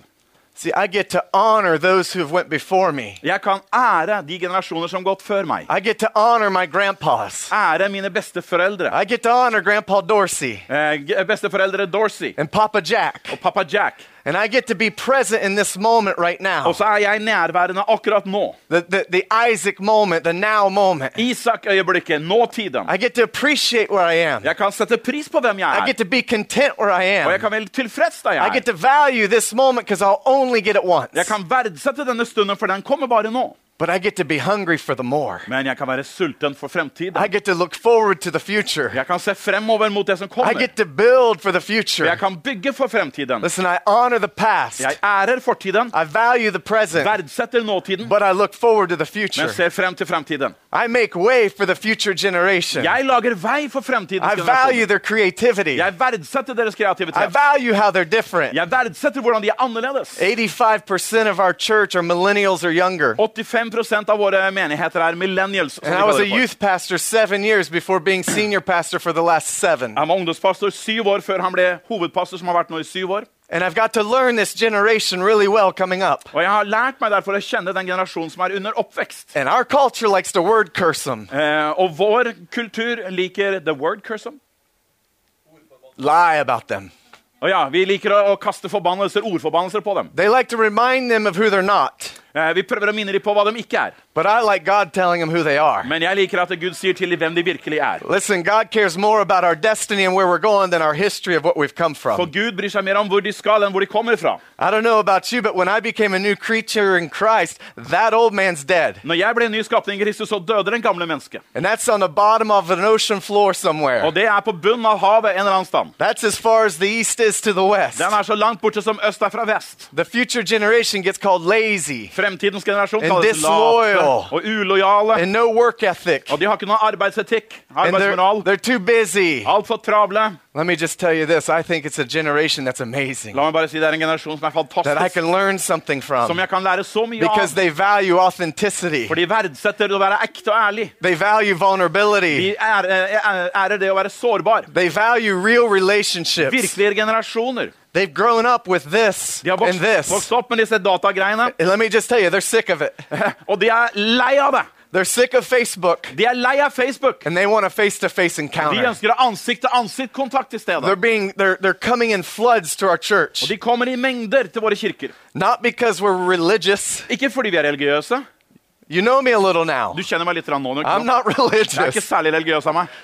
See, I get to honor those who have went before me.
Jeg kan ære de generasjoner som gått før meg.
I get to honor my grandpas.
Ære mine besteforeldre.
I get to honor Grandpa Dorsey
Eh, g- besteforeldre Dorsey
and Papa Jack.
og pappa Jack.
And I get to be present in this moment right now.
Og så er jeg nærværende akkurat nå.
The, the, the Isaac moment, the now moment.
Isak-øyeblikket, nåtiden.
I get to appreciate where I am.
Jeg kan sette pris på hvem jeg
I
er.
get to be content where I
Og jeg
am.
kan være tilfreds da
I
jeg
get
er.
to value this moment because I'll only get it once.
Jeg kan verdsette denne stunden, for den kommer bare nå.
But I get to be hungry for the more.
Men jeg kan være sulten for fremtiden.
I get to look forward to the future.
Jeg kan se fremover mot det som
I
kommer.
get to build for the
Og jeg
future.
kan bygge for fremtiden.
Listen, I honor the past.
Jeg ærer fortiden,
I value the present,
verdsetter nåtiden,
but I look forward to the
men
future.
ser frem til fremtiden.
I make way for the future generation.
Jeg lager vei for fremtidens
I value
generasjoner.
their creativity.
Jeg verdsetter deres
I
kreativitet.
value how they're different.
Jeg verdsetter hvordan de er annerledes.
85% of our church are millennials or younger.
Oh, 85 av våre menigheter er millennials. Som
And
de
I was
kaller
a
det for.
youth pastor seven years before being senior pastor for the last seven.
Han var ungdomspastor syv år før han ble hovedpastor, som har vært nå i syv år.
And I've got to learn this generation really well coming up.
Og jeg har lært meg derfor å kjenne den generasjonen som er under oppvekst.
And our culture likes to word curse them.
Eh, og vår kultur liker the word cursum.
lie about them.
Og ja, Vi liker å, å kaste forbannelser, ordforbannelser på dem.
They like to remind them of who they're not,
Eh, vi prøver å minne dem på hva de ikke er.
but I like God telling them who they are.
Men jeg liker at Gud sier til dem hvem de virkelig er.
Listen, God cares more about our destiny and where we're going than our history of what we've come
For
from.
Gud bryr seg mer om hvor de skal, enn hvor de kommer fra.
I don't know about you, but when I became a new creature in Christ, that old man's dead.
Når jeg ble en ny skapning i Kristus, så døde den gamle mennesket.
And that's on the bottom of an ocean floor somewhere.
Og det er på bunnen av havet en eller annen stand.
That's as far as the east is to the west.
Den er så langt borte som øst er fra vest.
The future generation gets called lazy
Fremtidens generasjon
and
kalles
disloyal Unloyal.
og ulojale.
and no work ethic.
Og de har ikke noe arbeidsetikk,
And they're,
arbeidsmoral.
they're too busy.
Altfor travle.
Let me just tell you this I think it's a generation that's amazing
La meg bare si det er en generasjon som er
that I
fantastisk,
can learn something
som
from
jeg kan lære så mye
because
av.
they value authenticity,
For de verdsetter å være ekte og ærlig.
they value
De
vulnerability,
ærer, ærer- eh, ærer det å være sårbar.
they value real relationships.
Virkelige generasjoner.
They've grown up with this
De har
and
vokst,
this.
vokst opp med disse datagreiene,
And let me just tell you, they're sick of it. [LAUGHS]
og de er lei av det.
They're sick of Facebook
De er lei av Facebook.
and they want a face to face
De
encounter.
ønsker ansikt-til-ansikt-kontakt i stedet.
They're being they're they're coming in floods to our
Og
church.
de kommer i mengder til våre kirker.
Not because we're religious.
Ikke fordi vi er religiøse.
You know me a little now.
Du kjenner meg litt grann nå. Ikke
I'm
sant?
not [LAUGHS]
Jeg er ikke
religious.
særlig religiøs av meg. [LAUGHS]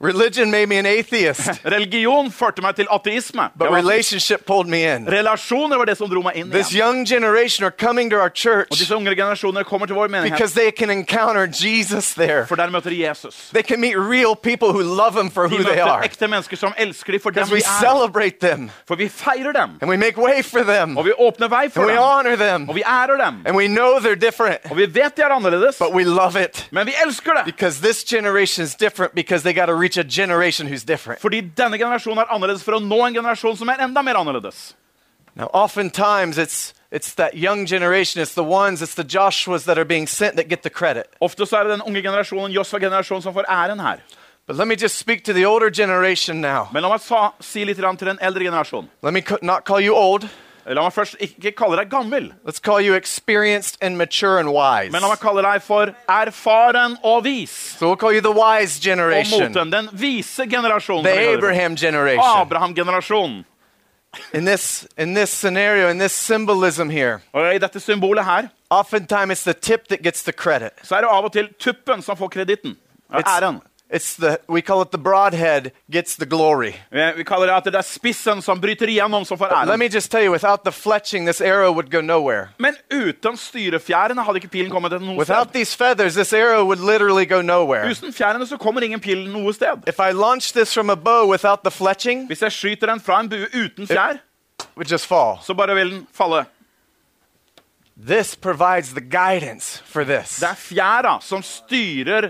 Religion made me an atheist,
Religion førte meg til ateisme.
but
Jeg var-
relationship pulled me in.
Relasjoner var det som dro meg inn
This
igjen.
young generation are coming to our
Og
church
disse unge generasjoner kommer til vår menighet,
because they can encounter Jesus there.
for der møter de Jesus.
They can meet real people who love him for
De
who they
møter
are.
ekte mennesker som elsker dem for dem
Because we
vi er.
celebrate them
For vi feirer dem,
and we make way for them
og vi åpner vei for
and we
dem,
honor them
og vi ærer dem.
and we know they're different,
Og vi vet de er annerledes,
but we love it.
men vi elsker det.
Because this generation is different because they got to reach a generation who's different.
Fordi denne generasjonen er annerledes for å nå en generasjon som er enda mer annerledes.
Now, oftentimes it's it's that young generation, it's the ones, it's the Joshuas that are being sent that get the credit.
Ofte så er det den unge generasjonen, Josfa-generasjonen, som får æren her.
But let me just speak to the older generation now.
Men la meg sa, si litt grann til den eldre generasjonen.
Let me co- not call you old.
La meg først ikke kalle deg gammel,
Let's call you experienced and mature and wise.
men la meg kalle deg for erfaren og vis.
So we'll call you the wise
Og
generation,
moten. Den vise generasjonen.
the
som vi kaller det for.
Abraham generation.
Oh, Abraham-generasjonen.
In this in this scenario, in this symbolism here,
Og I dette symbolet her
oftentimes it's the tip that gets the credit.
så er det av og til tuppen som får kreditten. Ja,
It's-
Æren.
It's the we call it the broadhead gets the glory.
Vi vi kaller det at det er spissen som bryter igjennom, som får
Let
æren.
me just tell you, without the fletching, this arrow would go nowhere.
Men uten styrefjærene hadde ikke pilen kommet til noe
Without
sted.
these feathers, this arrow would literally go nowhere.
Uten fjærene så kommer ingen pil noe sted.
If I launched this from a bow without the fletching,
Hvis jeg skyter den fra en bue uten fjær,
it would just fall.
så bare vil den falle.
This provides the guidance for this.
Det er fjæra som styrer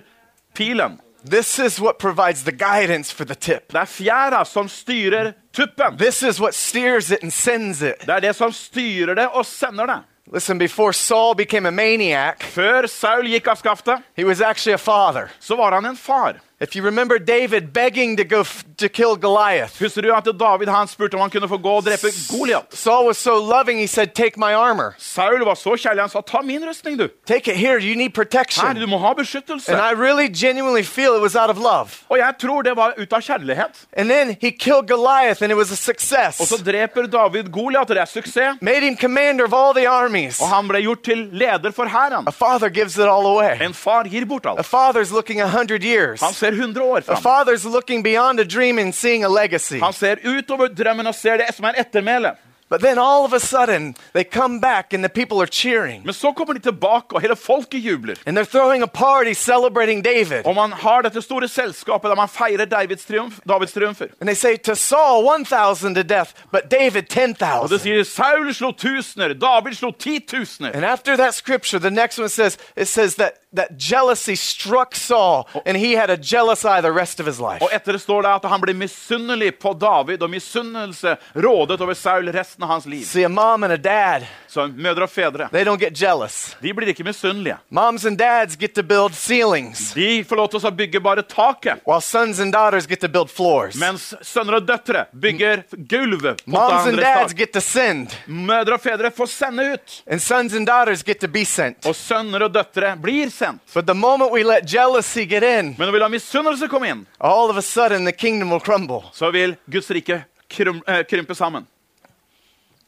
pilen.
This is what provides the guidance for the tip.
Det er fjæra som styrer tuppen.
This is what steers it and sends it.
Det er det som styrer det og sender det.
Listen, before Saul became a maniac,
Før Saul gikk av skaftet,
he was actually a father.
så var han en far.
If you remember David begging to go f- to kill Goliath,
Husker du at David han spurte om han kunne få gå og drepe Goliat?
Saul was so loving, he said, Take my armor.
Saul var så kjærlig, han sa ta min rustning, du.
Take it here. You need
Her, du
protection.
må ha beskyttelse.
And I really genuinely feel it was out of love.
Og jeg tror det var ut av kjærlighet.
And then he killed Goliath, and it was a
Og så
success.
dreper David Goliat, og det er suksess.
Made him commander of all the armies.
Og han ble gjort til leder for hæren.
A father gives it all away.
En far gir bort
A
alt.
father's looking a hundred years.
Han ser 100 år
A
fram.
father's looking beyond a dream and seeing a legacy.
Han ser utover drømmen og ser det som er ettermælet.
But then all of a sudden, they come back and the people are cheering.
Men så kommer de tilbake, og hele folket jubler.
And they're throwing a party celebrating David.
Og man har dette store selskapet der man feirer Davids, triumf, Davids triumfer.
And they say, To Saul, 1,000 to death, but David,
Og det
10,000.
sier Saul slo tusener, David slo titusener.
And after that scripture, the next one says, It says that, that jealousy struck Saul, and he had a jealous eye the rest of his life.
Og etter det står det at han ble misunnelig på David, og misunnelse rådet over Saul resten av hans liv.
See, a mom and a dad,
Så mødre og fedre
they don't get jealous.
de blir ikke misunnelige.
Moms and dads get to build ceilings,
De får lov til å bygge bare taket,
while sons and daughters get to build floors.
mens sønner og døtre bygger gulvet. mot
Moms and
hverandres
dads
tak.
get to send,
Mødre og fedre får sende ut,
and sons and daughters get to be sent.
og sønner og døtre blir sendt.
But the moment we let jealousy get in,
Men når vi lar misunnelse komme inn,
all of a sudden the kingdom will crumble.
så vil Guds rike krum, eh, krympe sammen.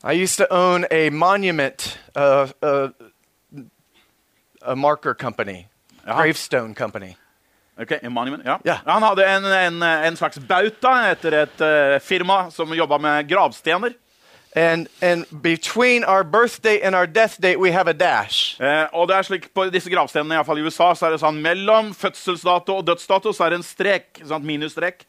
I used to own a monument, uh, uh, a marker company,
Ja.
gravestone company.
Ok, Monument, ja.
Ja.
Han hadde en, en, en slags bauta etter et eh, firma som jobba med gravstener.
And, and between our birth date and our death date, we have a dash.
Eh, og det er slik På disse gravstenene, i, alle fall i USA, så er det sånn mellom fødselsdato og dødsdato så er det en strek. Sånn minusstrek.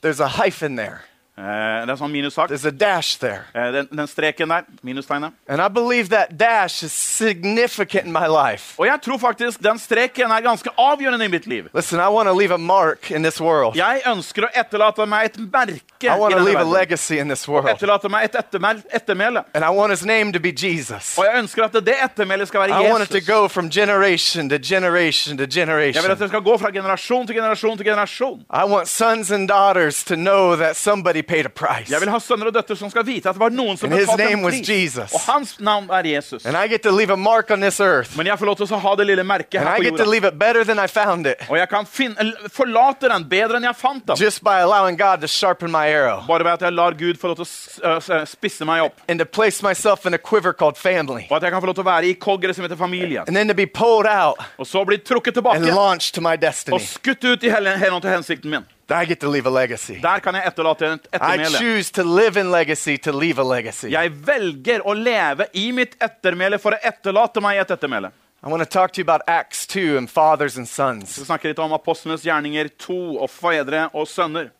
There's a hyphen there.
Eh, det er en sånn minussak.
There's a dash there.
Eh, den, den streken der, minustegnet.
And I believe that dash is significant in my life.
Og jeg tror faktisk den streken er ganske avgjørende i mitt liv.
Listen, I want to leave a mark in this world.
Jeg ønsker å etterlate meg et merke
I
i
want to
denne
leave a
verden.
legacy in this world.
Etterlate meg et ettermæl, ettermæle.
And I want his name to be Jesus.
Og jeg ønsker at det ettermælet skal være
I want it to
Jesus.
go from generation to generation to
Jeg vil at
generation.
det skal gå fra generasjon til generasjon til generasjon.
I want sons and daughters to know that somebody paid a price.
Jeg vil ha sønner og døtre som skal vite at det var noen som
And his
betalte en
name was
pris.
Jesus.
Og hans navn er Jesus.
And I get to leave a mark on this earth.
Men jeg får lov til å ha det lille merket
And
her
I
på
get to
jorda.
leave it better than I found it
Og jeg kan fin- eller forlate den bedre enn jeg fant den.
just by allowing God to sharpen my arrow
Bare ved at jeg lar Gud få lov til å s- øh, s- spisse meg opp.
and to place myself in a quiver called family
Og at jeg kan få lov til å være i koggeret som heter familien.
and then to be pulled out
Og så bli trukket
and
tilbake
launched to my
og
destiny.
skutt ut i hel- henhold til hensikten min.
I get to leave a legacy.
Der kan jeg etterlate et
I
ettermæle.
choose to live in legacy to leave a legacy.
Jeg velger å leve i mitt ettermæle for å etterlate meg et ettermæle.
I want to talk to you about Acts 2 and fathers and sons.
Vi snakker litt om apostlenes gjerninger 2 og fedre og sønner.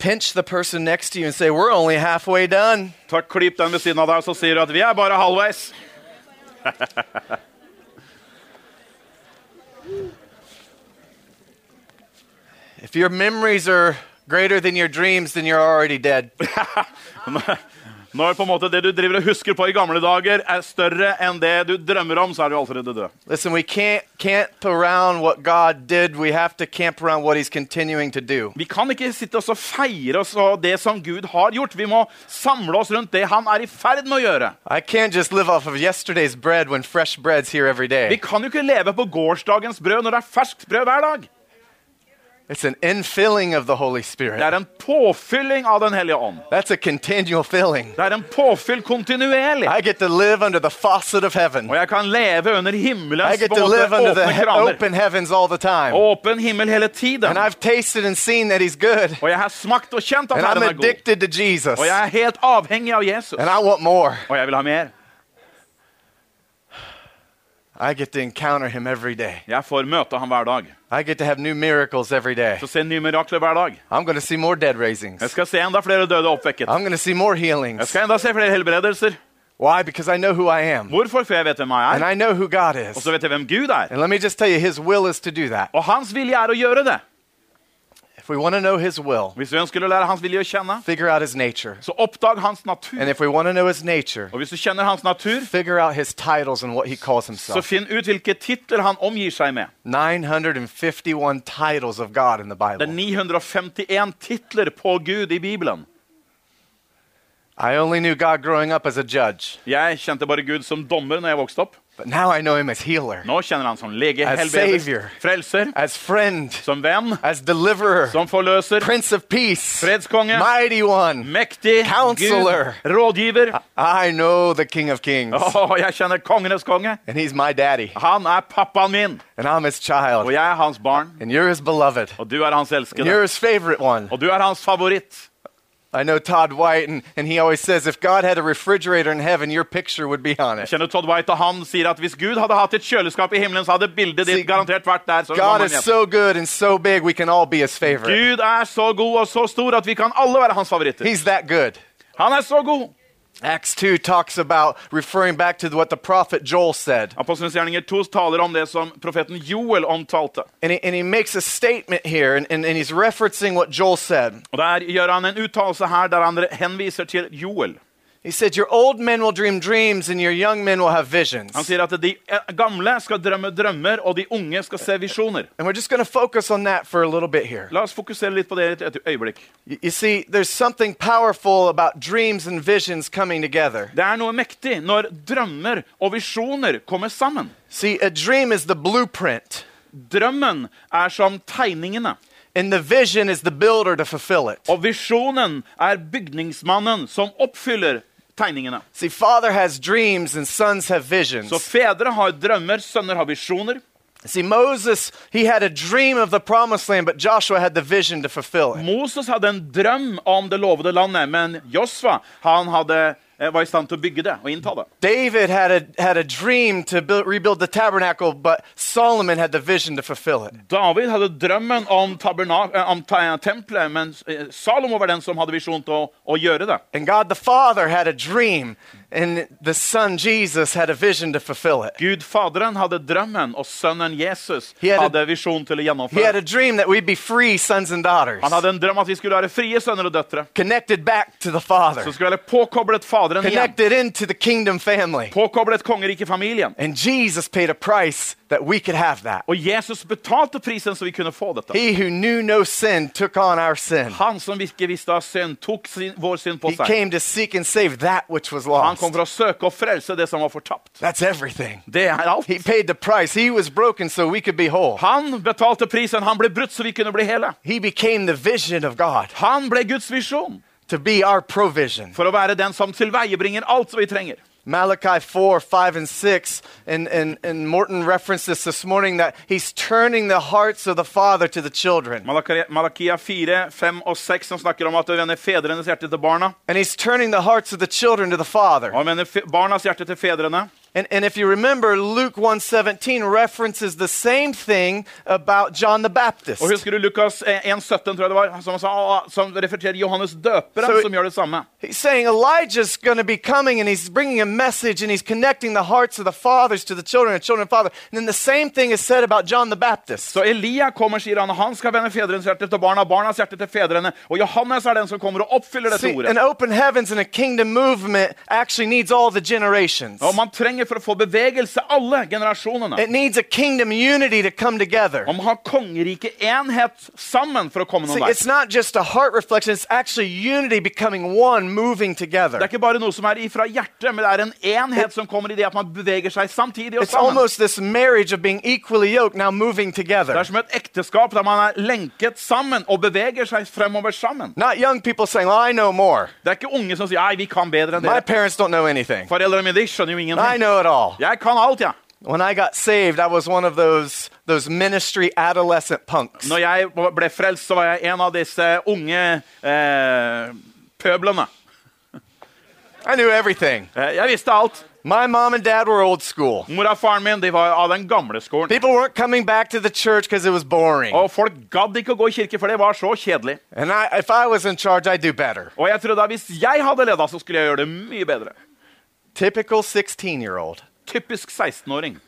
pinch the person next to you and say, We're only halfway done.
Ta Klipp den ved siden av deg, så sier du at vi er bare halvveis.
If your memories are greater than your dreams, then you're already dead.
Når på en måte det du driver og husker på i gamle dager, er større enn det du drømmer om, så er du allerede død.
Listen, we can't camp around what God did. We have to camp around what He's continuing to do.
Vi kan ikke sitte oss og feire oss av det som Gud har gjort. Vi må samle oss rundt det han er i ferd med å gjøre.
I can't just live off of yesterday's bread when fresh bread's here every
Vi
day.
kan jo ikke leve på gårsdagens brød når det er ferskt brød hver dag.
It's an infilling of the Holy
Det
Spirit.
er en påfylling av Den hellige ånd.
That's a continual filling.
Det er en påfyll kontinuerlig.
I get to live under the faucet of heaven.
Og jeg kan leve under
I
himmelens
get to live
måte,
under the Oh,
åpne
he-
kraner.
open heavens oh, all the time.
Åpen himmel hele tiden.
And I've tasted and seen that He's good.
Og jeg har smakt og kjent at
And I'm
Herren er god.
addicted to Jesus.
Og jeg er helt avhengig av Jesus.
And I want more.
Og jeg vil ha mer.
I get to encounter him every day.
Jeg får møte ham hver dag.
I get to have new miracles every day.
Så se nye mirakler hver dag.
I'm going to see more dead raisings.
Jeg skal se enda flere døde oppvekket.
I'm going to see more
Jeg
healings.
skal enda se flere helbredelser.
Why? Because I know who I am.
Hvorfor? For jeg vet hvem jeg
And
er.
I know who God
Og
is.
så vet jeg hvem Gud er.
And let me just tell you, his will is to do that.
Og hans vilje er å gjøre det.
If we want to know his will,
Hvis vi ønsker å lære hans vilje å kjenne,
figure out his nature.
så oppdag hans natur.
And if we want to know his nature,
Og hvis du kjenner hans natur,
figure out his titles and what he calls
så
himself.
finn ut hvilke titler han omgir seg med.
951 titles of God in the
Det er
Bible.
951 titler på Gud i Bibelen.
I only knew God growing up as a judge,
Jeg kjente bare Gud som dommer når jeg vokste opp.
but now I know him as healer,
Nå kjenner han som lege,
As
helbreder,
savior.
frelser,
as friend,
som venn,
as deliverer,
som forløser,
Prince of Peace,
fredskonge,
Mighty One.
mektig,
Counselor.
Gud, rådgiver.
I know the King of Kings,
Åh, jeg kjenner kongenes konge.
and He's my daddy,
Han er pappaen min,
and I'm His
og
child,
jeg er hans barn.
and you're His beloved,
Og du er hans
and you're
elskede.
His favorite one.
Og du er hans favoritt.
I know Todd White, and, and he always says, if God had a refrigerator in heaven, your picture would be on it.
Kjenner Todd White, og han sier at hvis Gud hadde hatt et kjøleskap i himmelen, så hadde bildet
See,
ditt garantert vært der. Så
God
kom
is
han igjen.
so good and so big, we can all be His favorite.
Gud er så god og så stor at vi kan alle være hans favoritter.
He's that good.
Han er så god.
Acts 2 talks about referring back to what the prophet Joel said.
Apostelens gjerninger 2 taler om det som profeten Joel omtalte.
And he, and he makes a statement here, and, and, and he's referencing what Joel said.
Og Der gjør han en uttalelse her der han henviser til Joel.
He said, Your old men will dream dreams, and your young men will have visions.
Han sier at de eh, gamle skal drømme drømmer, og de unge skal se visjoner.
And we're just going to focus on that for a little bit here.
La oss fokusere litt på det et et øyeblikk.
Y- You see, there's something powerful about dreams and visions coming together.
Det er noe mektig når drømmer og visjoner kommer sammen.
See, a dream is the blueprint,
Drømmen er som tegningene,
and the vision is the builder to fulfill it.
og visjonen er bygningsmannen som oppfyller tegningene.
See, father has dreams and sons have
Så
visions.
fedre har drømmer, sønner har visjoner.
See, Moses, he had a dream of the promised land, but Joshua had the vision to fulfill it.
Moses hadde en drøm om det lovede landet, men Josva han hadde eh, var i stand til å bygge det og innta det.
David had a, had a dream to build, rebuild the tabernacle, but Solomon had the vision to fulfill it.
David hadde drømmen om, taberna- eh, om ta- tempelet, men eh, Salomo var den som hadde visjon til å, å gjøre det.
And God the Father had a dream, and the Son Jesus had a vision to fulfill it.
Gud Faderen hadde drømmen, og sønnen Jesus
He had a-
hadde visjon til å
He had a
gjennomføre.
dream that we'd be free sons and daughters,
Han hadde en drøm at vi skulle være frie sønner og døtre.
connected back to the Father,
Som skulle være påkoblet Faderen igjen.
connected into the kingdom family.
Påkoblet kongerikefamilien.
And Jesus paid a price that we could have that.
Og Jesus betalte prisen så vi kunne få dette.
He who knew no sin took on our sin.
Han som ikke visste av synd, tok sin, vår synd på
He
seg.
came to seek and save that which was
Han
lost.
kom for å søke og frelse det som var fortapt.
That's everything.
Det er alt.
He paid the price. He was broken so we could be whole.
Han betalte prisen. Han ble brutt så vi kunne bli hele.
He became the vision of God
Han ble Guds visjon
to be our provision.
for å være den som tilveiebringer alt som vi trenger.
Malachi 4, 5, and 6, and, and, and Morton referenced this this morning that he's turning the hearts of the father to the children.
Malaki- Malakia 4, 5 og 6 som snakker om at å vende fedrenes hjerte til barna.
And he's turning the hearts of the children to the father.
Og å vende fe- barnas hjerte til fedrene.
And, and if you remember, Luke 1.17 references the same thing about John the Baptist.
Og husker du Lukas eh, 1, 17, tror jeg det var, som, sa, ah, som referterer Johannes døperen,
Så-
som gjør det samme.
He's saying Elijah's going to be coming and he's bringing a message and he's connecting the hearts of the fathers to the children and children to the father. And then the same thing is said about John the Baptist.
Så Elia kommer, sier han, og han skal vende fedrenes hjerte til barna, barnas hjerte til fedrene. Og Johannes er den som kommer og oppfyller dette
See,
ordet.
an open heavens and a kingdom movement actually needs all the generations.
Og man trenger for å få bevegelse alle generasjonene.
It needs a kingdom unity to come together.
Man må ha kongerike enhet sammen for å komme
See,
noen vei.
it's not just a heart reflection, it's actually unity becoming one, moving
Det
together.
er ikke bare noe som er ifra hjertet, men det er en enhet som kommer i det at man beveger seg samtidig og
It's
sammen.
almost this marriage of being equally yoked now moving
Det
together.
er som et ekteskap der man er lenket sammen og beveger seg fremover sammen.
Not young people saying, well, I know more.
Det er ikke unge som sier 'nei, vi kan bedre enn
My
dere'.
parents don't know anything.
Foreldrene mine de skjønner jo
I
ingenting.
know it all.
Jeg kan alt, jeg. Ja.
When I got saved, I was one of those those ministry adolescent punks.
Når jeg ble frelst, så var jeg en av disse unge eh, pøblene.
I knew everything.
Eh, jeg visste alt.
My mom and dad were old school.
Mor og faren min de var av den gamle skolen.
People weren't coming back to the church because it was boring.
Og folk gadd ikke å gå i kirke, for det var så kjedelig.
And I, if I was in charge, I'd do better.
Og jeg trodde at hvis jeg hadde leda, så skulle jeg gjøre det mye bedre.
Typical 16 year old,
Typisk 16-åring.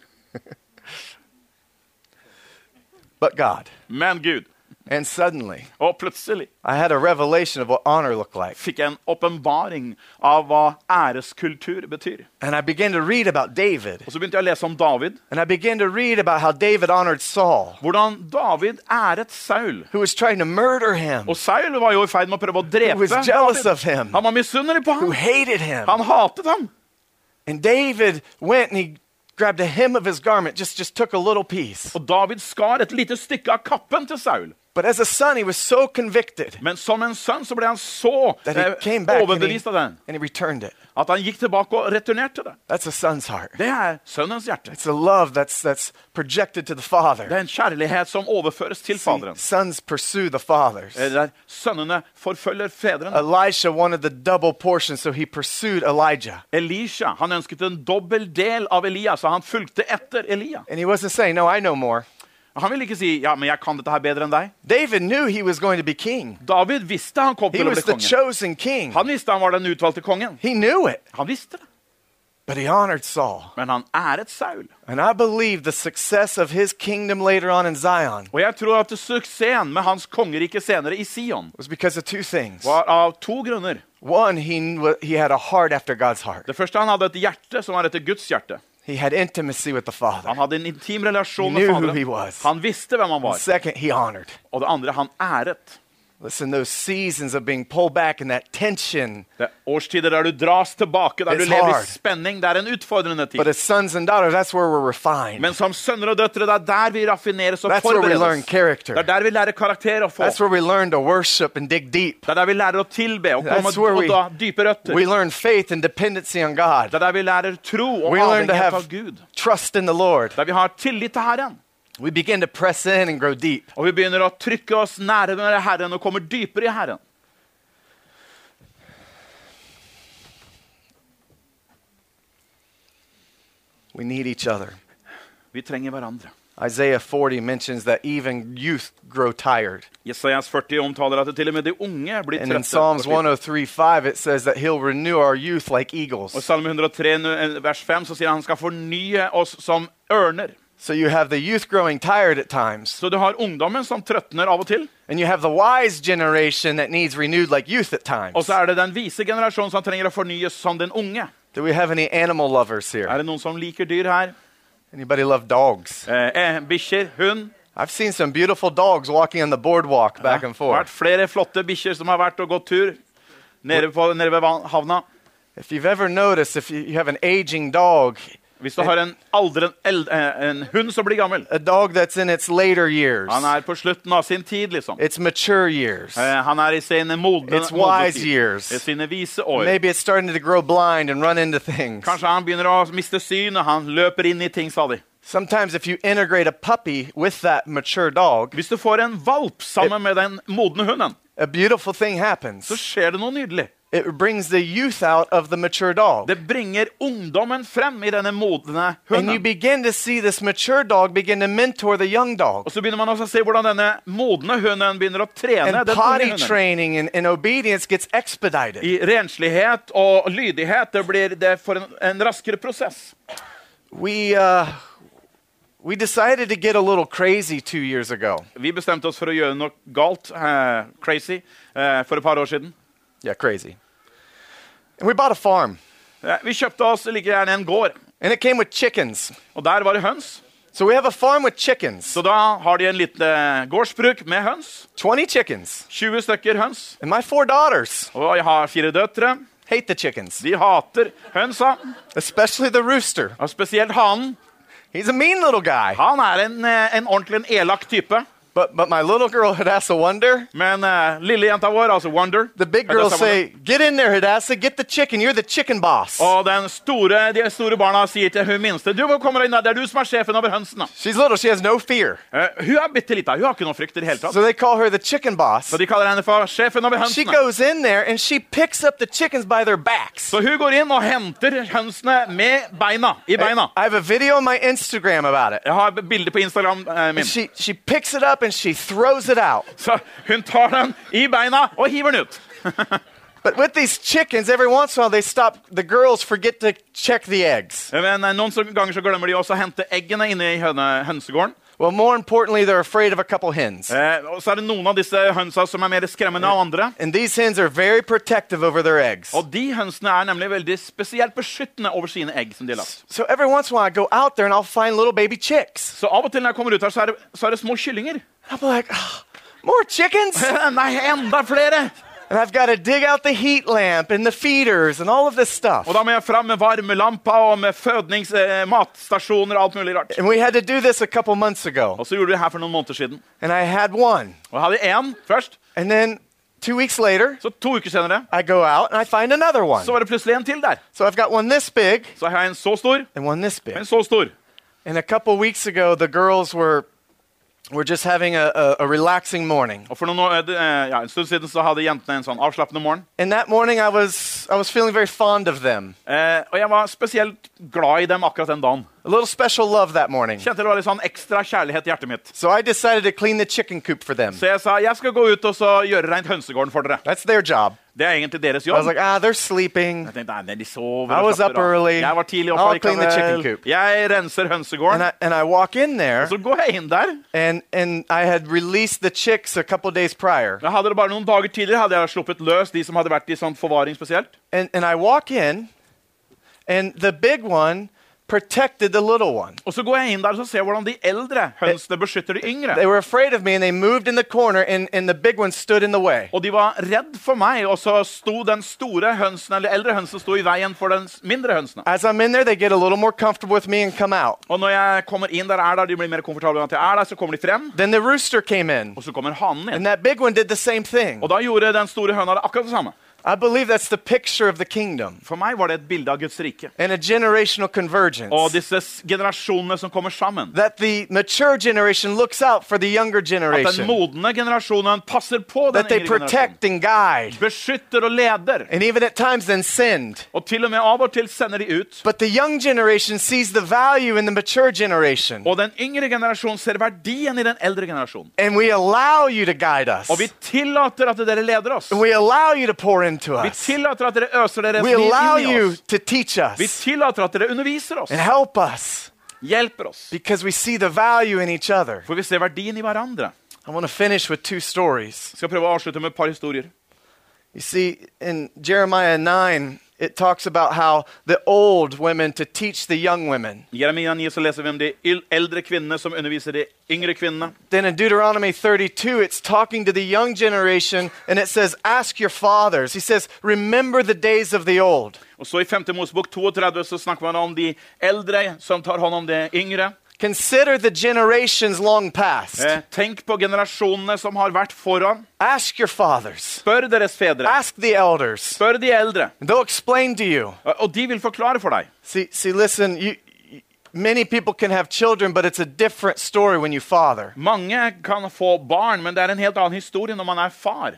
but God.
Men Gud.
And suddenly,
Og plutselig
I had a revelation of what honor looked like.
fikk jeg en åpenbaring av hva æreskultur betyr.
And I began to read about David.
Og så begynte jeg å lese om David.
And I began to read about how David honored Saul,
Hvordan David æret Saul.
who was trying to murder him,
Og Saul var jo i ferd med å prøve å
who
drepe
was jealous
David.
of him,
Han var misunnelig på
who
ham.
hated him.
Han hatet ham.
And David went and he grabbed a hem of his garment, just, just took a little piece.
Og David skar et lite stykke av kappen til Saul.
But as a son, he was so convicted
Men som en sønn så ble han så
that
eh,
he came back and he,
overbevist av den
and he returned it.
at han gikk tilbake og returnerte det.
That's a son's heart.
Det er sønnens hjerte.
It's a love that's, that's projected to the father.
Det er en kjærlighet som overføres til Faderen.
Sons pursue the fathers.
Eh, Der sønnene forfølger fedrene.
Elisha wanted the double portion, so he pursued Elijah.
Elisha han ønsket en dobbel del av Elia, så han fulgte etter Elia.
And he wasn't saying, No, I know more.
Han ville ikke si ja, men jeg kan dette her bedre enn deg.
David knew he was going to be king,
David visste han kom
he
til å
was
bli
the
konge.
chosen king.
Han visste han var den utvalgte kongen.
He knew it,
Han visste det.
but he honored Saul.
Men han æret Saul.
And I believe the success of his kingdom later on in Zion
Og jeg tror at suksessen med hans kongerike senere i Sion
was because of two things.
var av to grunner.
One, he, kn- he had a heart after God's heart.
Det første, han hadde et hjerte som var etter Guds hjerte.
He had intimacy with the Father.
Han hadde en intim relasjon
He
med
knew who he
Faderen.
was.
Han visste hvem han var.
Second, he honored.
Og det andre, han æret.
Listen, those seasons of being pulled back and that tension.
Det er årstider der du dras tilbake, der
It's
du lever
hard.
i spenning. Det er en utfordrende
But
tid.
as sons and daughters, that's where we're refined.
Men som sønner og døtre, det er der vi raffineres og
That's where we learn
forberedes.
character.
Det er der vi lærer karakter å få.
That's where we learn to worship and dig deep.
Det er der vi lærer å tilbe og komme
That's where
og
we-
ta dype røtter.
We learn faith and dependency on
Det
God.
er der vi lærer tro og
We learn to
avhengighet av
have
Gud.
trust in the Lord.
Der vi har tillit til Herren.
We begin to press in and grow deep.
Og vi begynner å trykke oss nærmere Herren og kommer dypere i Herren.
We need each other.
Vi trenger hverandre.
Isaiah 40 mentions that even youth grow tired.
Jesajas 40 omtaler at til og med de unge blir
And in
trette. og
Psalms
slitne.
103:5 it says that he'll renew our youth like
Og i
eagles.
Salme 103, nu- eh, vers 5, så sier han han skal fornye oss som ørner.
So you have the youth growing tired at times,
Så du har ungdommen som trøtner av og til,
and you have the wise generation that needs renewed like youth at
og
times.
så er det den vise generasjonen som trenger å fornyes som den unge.
Do we have any animal lovers
Er
here?
det noen som liker dyr her?
Anybody love dogs?
Eh, eh, Bikkjer, hund.
I've seen some beautiful dogs walking on the boardwalk back and
Det har vært
forth.
flere flotte bikkjer som har vært og gått tur nede, på, nede ved van- havna.
If you've ever noticed, if you- you have an aging dog,
Hvis du har en, aldren, eld, eh, en hund som blir gammel
a dog that's in its later years,
Han er på slutten av sin tid, liksom.
its mature years,
Eh, Han er i sine modne
It's
modne
wise
tid.
years.
I sine vise år.
maybe it's starting to grow blind and run into things.
Kanskje han begynner å miste syn, og han løper inn i ting stadig.
Sometimes, if you integrate a puppy with that mature dog,
Hvis du får en valp sammen med den modne hunden,
a beautiful thing
så
happens.
skjer det noe nydelig.
It brings the youth out of the mature dog.
Det bringer ungdommen frem i denne modne
And you
hunden.
begin to see this mature dog begin to mentor the young dog.
Og så begynner man også å se hvordan denne modne hunden begynner å trene
And
den unge
potty
hunden.
training and, and obedience gets expedited.
I renslighet og lydighet. Det blir det for en, en raskere prosess.
We, uh, we decided to get a little crazy two years ago.
Vi bestemte oss for å gjøre noe galt, eh, crazy, eh, for et par år siden.
Yeah, crazy. And we bought a farm,
Eh, vi kjøpte oss like gjerne en gård,
and it came with chickens.
og der var det høns.
So we have a farm with chickens,
Så da har de en liten eh, gårdsbruk med høns.
20 chickens.
20 stykker høns.
And my four daughters
Og jeg har fire døtre.
hate the chickens,
De hater hønsa,
especially the rooster.
og spesielt hanen.
He's a mean little guy.
Han er en, eh, en ordentlig en elak type.
But but my little girl [LAUGHS] Hadassah Wonder,
Men eh, lille jenta vår, altså Wonder
the big
heter
girls
sammen.
say, "Get in there, Hadassah, get the chicken. You're the chicken boss."
Og den store, de store barna sier til hun minste Du må komme deg inn, der. det er du som er sjefen over hønsene.
She's little, she has no fear.
Eh, hun er bitte lita. Hun har ikke noen frykt i det hele tatt.
So they call her the chicken boss.
Så de kaller henne for sjefen over
She
hønsene.
goes in there and she picks up the chickens by their backs.
Så hun går inn og henter hønsene med beina. I beina.
I have a video on my Instagram about it.
Jeg har et bilde på Instagram eh, min.
She she picks it up and she throws it out.
Så hun tar den i beina og hiver den ut.
But with these chickens, every once in a while they stop. The girls forget to check the eggs.
Men eh, noen så- ganger så glemmer de også å hente eggene inne i høne, hønsegården.
Well, more importantly, they're afraid of a couple hens.
Eh, og så er det noen av disse hønsa som er mer skremmende enn andre.
And these hens are very protective over their eggs.
Og de hønsene er nemlig veldig spesielt beskyttende over sine egg. som de har lagt.
So every once in a while I go out there and I'll find little baby chicks.
Så av og til når jeg kommer ut her, så er det, så er det små kyllinger. [LAUGHS]
I'm like, "Ah, more chickens?
Nei, enda flere!
And I've got to dig out the heat lamp and the feeders and all of this stuff.
Og da må jeg fram med varmelampa og med fødnings, eh, matstasjoner og alt mulig rart.
And we had to do this a couple months ago.
Og så gjorde vi det her for noen måneder siden.
And I had one.
Og jeg hadde én først.
And then two weeks later,
Så to uker senere
I go out and I find another one.
så var det plutselig en til der.
So I've got one this big
Så har jeg en så stor,
and one this big.
en så stor.
And a couple weeks ago, the girls were, were just having a, a, a relaxing morning.
Og for noen, år- eh, ja, En stund siden så hadde jentene en sånn avslappende morgen.
And that morning, I was, I was feeling very fond of them.
Eh, og jeg var spesielt glad i dem akkurat den dagen.
A little special love that morning.
Kjente det var litt sånn ekstra kjærlighet i hjertet mitt.
So I decided to clean the chicken coop for them.
Så jeg sa jeg skal gå ut og så gjøre rent hønsegården for dere.
That's their job.
Det er egentlig deres
I was
jobb.
like, ah, they're sleeping.
Jeg tenkte, nei, de sover
I
og
was
slapper
up
av.
early.
Jeg var tidlig
I'll
oppe
clean the chicken
likevel.
coop.
Jeg renser
And
hønsegården.
I, and I walk in there,
Så går jeg inn der.
and, and I had released the chicks a couple days prior.
Jeg hadde det bare Noen dager tidligere hadde jeg sluppet løs de som hadde vært i sånn forvaring spesielt.
And, and I walk in, and the big one protected the little one.
Og så går jeg inn der og så ser jeg hvordan de eldre hønsene beskytter de yngre.
They were afraid of me, and they moved in the corner, and, and the big one stood in the way.
Og de var redd for meg, og så sto den store hønsen, eller eldre hønsen sto i veien for den s- mindre hønsen.
As I'm in there, they get a little more comfortable with me and come out.
Og når jeg kommer inn der er der, de blir mer komfortable med at jeg er der, så kommer de frem,
Then the rooster came in,
og så kommer hanen
and
inn.
that big one did the same thing.
Og da gjorde den store høna det akkurat det samme.
I believe that's the picture of the kingdom
For meg var det et bilde av Guds rike.
and a generational convergence.
Og disse s- generasjonene som kommer sammen.
that the mature generation looks out for the younger
At den
generation,
modne generasjonen passer på den
that they
yngre generasjonen.
protect and guide,
Beskytter og leder.
and even at times then send.
Og til og med av og til sender de ut.
But the young generation sees the value in the mature generation,
Og den yngre generasjonen ser verdien i den eldre generasjonen.
and we allow you to guide us.
Og vi tillater at dere leder oss.
We allow you to pour into
Vi
us.
tillater at dere øser deres
We
liv
allow
inn i
you
oss.
to teach
Vi
us
tillater at dere underviser oss.
and help us
Hjelper oss.
because we see the value in each other.
For vi ser verdien i hverandre.
I want to finish with two stories.
Jeg skal prøve å avslutte med et par historier.
You see, in Jeremiah 9, it talks about how the old women to teach the young women.
I Jeremia 9 så leser vi om de il- eldre kvinnene som underviser de yngre kvinnene.
Then in Deuteronomy 32, it's talking to the young generation and it says, Ask your fathers. He says, Remember the days of the old.
Og så I 5. Mosebok 32 så snakker man om de eldre som tar hånd om de yngre.
Consider the generations long past.
Eh, tenk på generasjonene som har vært foran.
Ask your fathers.
Spør deres fedre.
Ask the elders.
Spør de eldre.
They'll explain to you.
Og- Og de vil forklare for deg.
See, see listen, you, you- many people can have children, but it's a different story when you father.
Mange kan få barn, men det er en helt annen historie når man er far.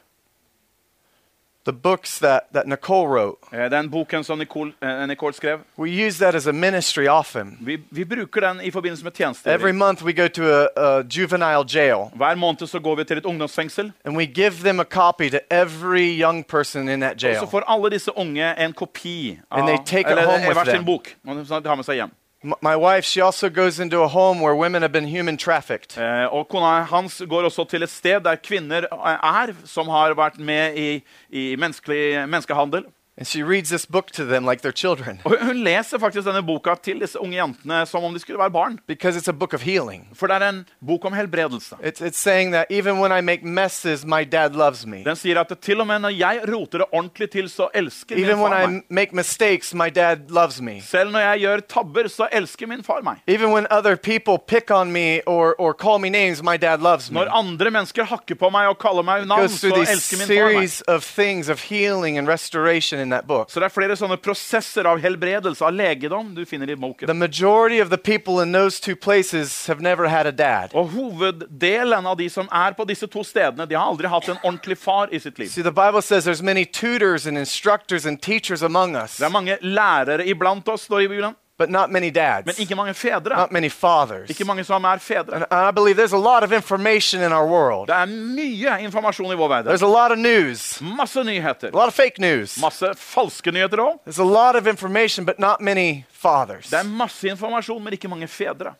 The books that, that Nicole wrote,
Eh, Den boken som Nicole, eh, Nicole skrev,
we use that as a ministry often.
vi, vi bruker den i forbindelse med
Every
tjenester.
month we go to a, a juvenile jail.
Hver måned så går vi til et ungdomsfengsel,
And we give them a copy to every young person in that
og så
jail.
får alle disse unge en kopi av
And they take it
eller
home with
hver sin
them.
bok. Sånn at de har med seg hjem.
M- my wife, she also goes into a home where women have been human trafficked.
Eh, og kona hans går også til et sted der kvinner er, som har vært med i, i menneskelig, menneskehandel.
And she reads this book to them like they're children [LAUGHS]
Og hun leser faktisk denne boka til disse unge jentene som om de skulle være barn.
because it's a book of healing.
For det er en bok om helbredelse.
It's, it's saying that even when I make messes, my dad loves me.
Den sier at til og med når jeg roter det ordentlig til, så elsker min
Even when
far
I
meg.
m- make mistakes, my dad loves me.
Selv når jeg gjør tabber, så elsker min far meg.
Even when other people pick on me or, or call me names, my dad loves me.
Når andre mennesker hakker på meg og kaller meg navn,
Goes
så
Mm. through these
elsker min far meg.
series of things of healing and restoration in that book.
Så det er flere sånne prosesser av helbredelse, av legedom, du finner i boken.
The majority of the people in those two places have never had a dad.
Og hoveddelen av de som er på disse to stedene, de har aldri hatt en ordentlig far i sitt liv.
See, the Bible says there's many tutors and instructors and teachers among us,
Det er mange lærere iblant oss, står det i Bibelen,
but not many dads,
men ikke mange fedre.
not many fathers.
Ikke mange som er
And
fedre.
I believe there's a lot of information in our world.
Det er mye informasjon i vår verden.
There's a lot of news,
Masse nyheter.
a lot of fake news.
Masse falske nyheter òg.
There's a lot of information, but not many fathers.
Det er masse informasjon, men ikke mange fedre.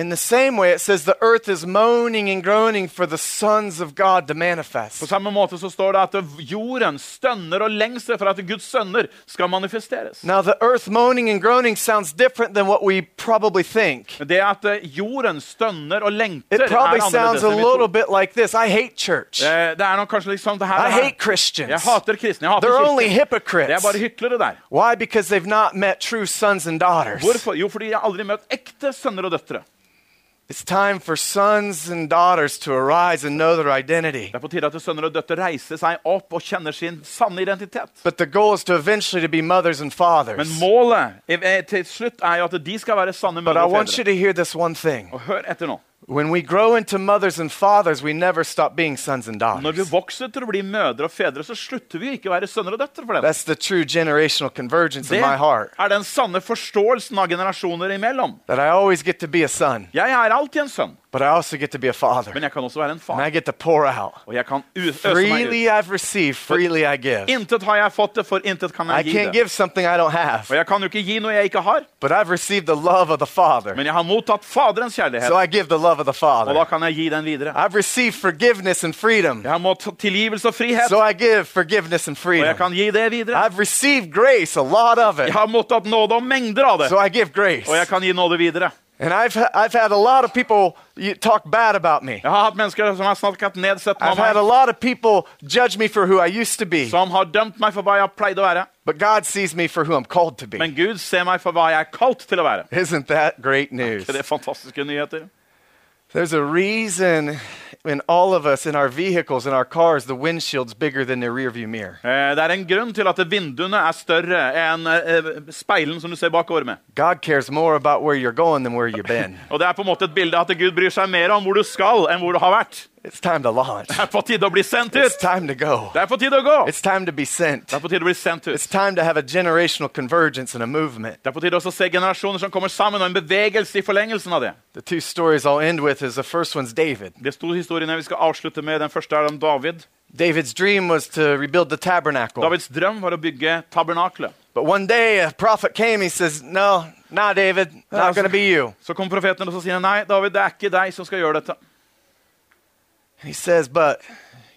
In the same way, it says the earth is moaning and groaning for the sons of God to
På
manifest.
samme måte så står det at jorden stønner og lengser for at Guds sønner skal manifesteres.
Now, the earth moaning and groaning sounds different than what we probably think.
Det at eh, jorden stønner og lengter,
It
er
probably sounds
annerledes
a
enn vi tror.
little bit like this I hate church.
Eh, Det er nok kanskje liksom det her,
I
det her.
hate Christians.
Jeg hater kristne. Jeg hater
They're only
kirken. Det er
hypocrites.
bare hyklere der.
Why? Because they've not met true sons and daughters.
Hvorfor? Jo, fordi jeg har aldri møtt ekte sønner og døtre.
It's time for sons and daughters to arise and know their identity.
Det er på tide at sønner og døtre reiser seg opp og kjenner sin sanne identitet.
But the goal is to eventually to be mothers and
Men
fathers.
målet eh, eh, til slutt er jo at de skal være sanne
But
mødre
I
og
want you
fedre.
to hear this one thing.
Og hør etter nå.
When we grow into mothers and fathers, we never stop being sons and
Når vi
daughters.
vokser til å bli mødre og fedre, så slutter vi jo ikke å være sønner og døtre for det.
That's the true generational convergence
Det
in my heart.
er den sanne forståelsen av generasjoner imellom.
That I always get to be a son,
Jeg er alltid en sønn,
but I also get to be a father.
men jeg kan også være en
And I
far.
get to pour out.
Og jeg kan u- øse meg ut.
Freely I've received, freely I give.
Intet har jeg fått det, for intet kan
I
jeg gi
can't
det.
give something I don't have,
Og jeg kan jo ikke gi noe jeg ikke har,
but I've received the love of the Father.
men jeg har mottatt Faderens kjærlighet,
So I give the love of the
og da
Father.
kan jeg gi den videre.
I've received forgiveness and freedom.
Jeg har mottatt tilgivelse og frihet,
So I give forgiveness and
og jeg
freedom.
kan gi det videre.
I've received grace, a lot of it.
Jeg har mottatt nåde og mengder av det,
So I give grace.
og jeg kan gi nåde videre.
And I've, ha- I've had a lot of people you- talk bad about me.
Jeg har hatt mennesker som har snakket nedsettende
I've
om
had a
meg,
lot of people judge me for who I used to be,
som har dømt meg for hva jeg pleide å være.
but God sees me for who I'm called to be.
Men Gud ser meg for hva jeg er kalt til å være.
Isn't that great news?
Det er fantastiske nyheter.
There's a reason in all of us, in our vehicles, in our cars, the windshield's bigger than the rearview mirror.
Eh, Det er en grunn til at vinduene er større enn eh, speilen som du ser bakover med.
God cares more about where you're going than where you've been.
Og det er på en måte et bilde av at Gud bryr seg mer om hvor du skal, enn hvor du har vært.
it's time to launch.
Det er på tide å bli sendt
It's
ut!
time to go.
Det er på tide å gå!
It's time to be sent.
Det er på tide å bli sendt
It's
ut.
time to have a generational convergence and a movement.
Det er på tide også å se generasjoner som kommer sammen, og en bevegelse i forlengelsen av det.
The two stories I'll end with is the first one's David.
De to historiene vi skal avslutte med, den første er om David.
David's dream was to rebuild the tabernacle.
Davids drøm var å bygge tabernaklet.
But one day a prophet came. He says, No, nah, David, not going to be you.
Så kom profeten og så sier han, nei, David, det er ikke deg som skal gjøre dette.
And he says, But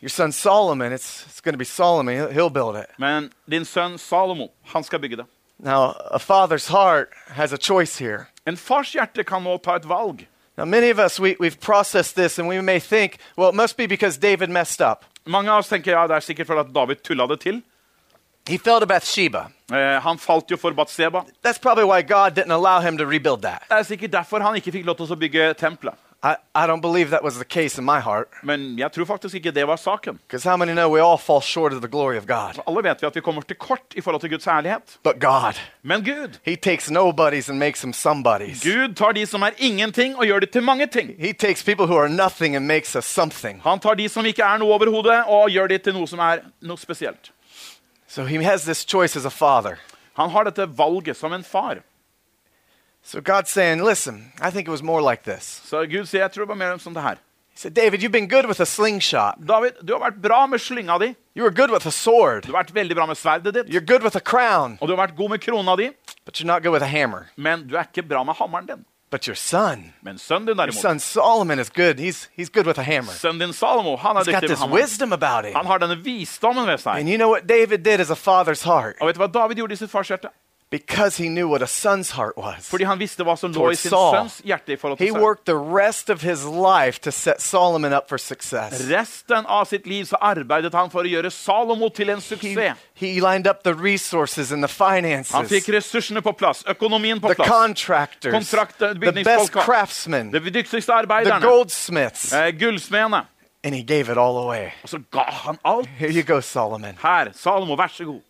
your son Solomon, it's, it's going to be Solomon. He'll, he'll build it.
Men din sønn Salomo, han skal bygge det.
Now, a father's heart has a choice here.
En fars hjerte kan nå ta et valg.
Now, many of us, we, we've processed this and we may think, well, it must be because David messed up.
Mange av oss tenker ja, det er sikkert fordi at David tulla det til.
He fell to Bathsheba.
Eh, han falt jo for Batseba.
That's probably why God didn't allow him to rebuild that.
Det er sikkert derfor han ikke fikk lov til å bygge tempelet.
I, I don't believe that was the case in my heart.
Men jeg tror faktisk ikke det var saken.
Because how many know we all fall short of the glory of God?
For alle vet vi at vi kommer til kort i forhold til Guds herlighet.
But God,
Men Gud
He takes nobodies and makes them somebodies.
Gud tar de som er ingenting, og gjør de til mange ting.
He takes people who are nothing and makes us something.
Han tar de som ikke er noe overhodet, og gjør de til noe som er noe spesielt.
So He has this choice as a father.
Han har dette valget som en far.
So God's saying, listen, I think it was more like this.
Så Gud sier, jeg tror det var mer som det her.
He said, David, you've been good with a slingshot.
David, du har vært bra med slynga di.
You were good with a sword.
Du har vært veldig bra med sverdet ditt.
You're good with a crown,
Og du har vært god med krona di,
but you're not good with a hammer.
men du er ikke bra med hammeren din.
But your son,
Men sønnen din,
your
derimot,
son Solomon is good. He's, he's good with a hammer.
sønnen din Salomo, han er
He's got
dyktig med
this
hammeren.
wisdom about him.
Han har denne visdommen ved seg.
And you know what David did as a father's heart?
Og vet du hva David gjorde i sitt fars hjerte?
Because he knew what a son's heart was.
Fordi han visste hva som lå
Toward
i sin
Saul.
sønns hjerte i forhold
He
til Saul.
worked the rest of his life to set Solomon up for success.
Resten av sitt liv så arbeidet han for å gjøre Salomo til en
He,
suksess.
he lined up the resources and the
Han
finances,
fikk ressursene på plass, økonomien på
the
plass,
contractors,
Kontrakter,
the best
bygningsfolka.
craftsmen,
de dyktigste
the
arbeiderne,
goldsmiths,
eh, gullsmedene.
and he gave it all away.
Og så ga han alt.
Here you go, Solomon.
Her, Salomo, vær så god.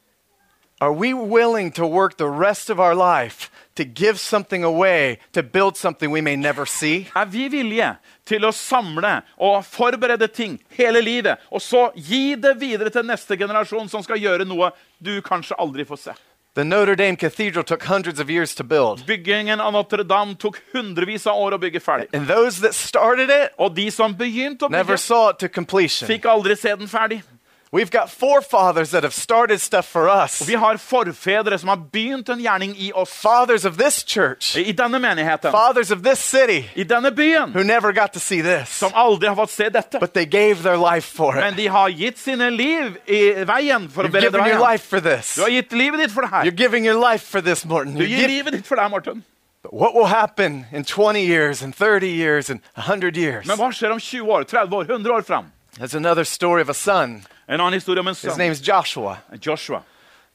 Are we willing to work the rest of our life to give something away to build something we may never see?
Er vi villige til å samle og forberede ting hele livet, og så gi det videre til neste generasjon som skal gjøre noe du kanskje aldri får se?
The Notre Dame Cathedral took hundreds of years to build.
Byggingen av Notre-Dame tok hundrevis av år å bygge ferdig.
And those that started it
Og de som begynte å
never
bygge,
saw it to completion.
fikk aldri se den ferdig.
We've got forefathers that have started stuff for us.
Vi har forfedre som har begynt en gjerning i oss.
Fathers of this church,
I denne menigheten,
fathers of this city,
i denne byen,
who never got to see this,
som aldri har fått se dette.
but they gave their life for
Men
it.
de har gitt sine liv i veien for å
You're
berede
giving your
veien.
life for this.
Du har gitt livet ditt for det
You're
her.
giving your life for this, Morton.
Du
You're
gir
gi-
livet ditt for det her, Morten.
But what will happen in 20 years, and 30 years, and 100 years?
Men hva skjer om 20 år, 30 år, 100 år fram?
That's another story of a son.
En annen historie om en
His
sønn.
name's Joshua.
Joshua.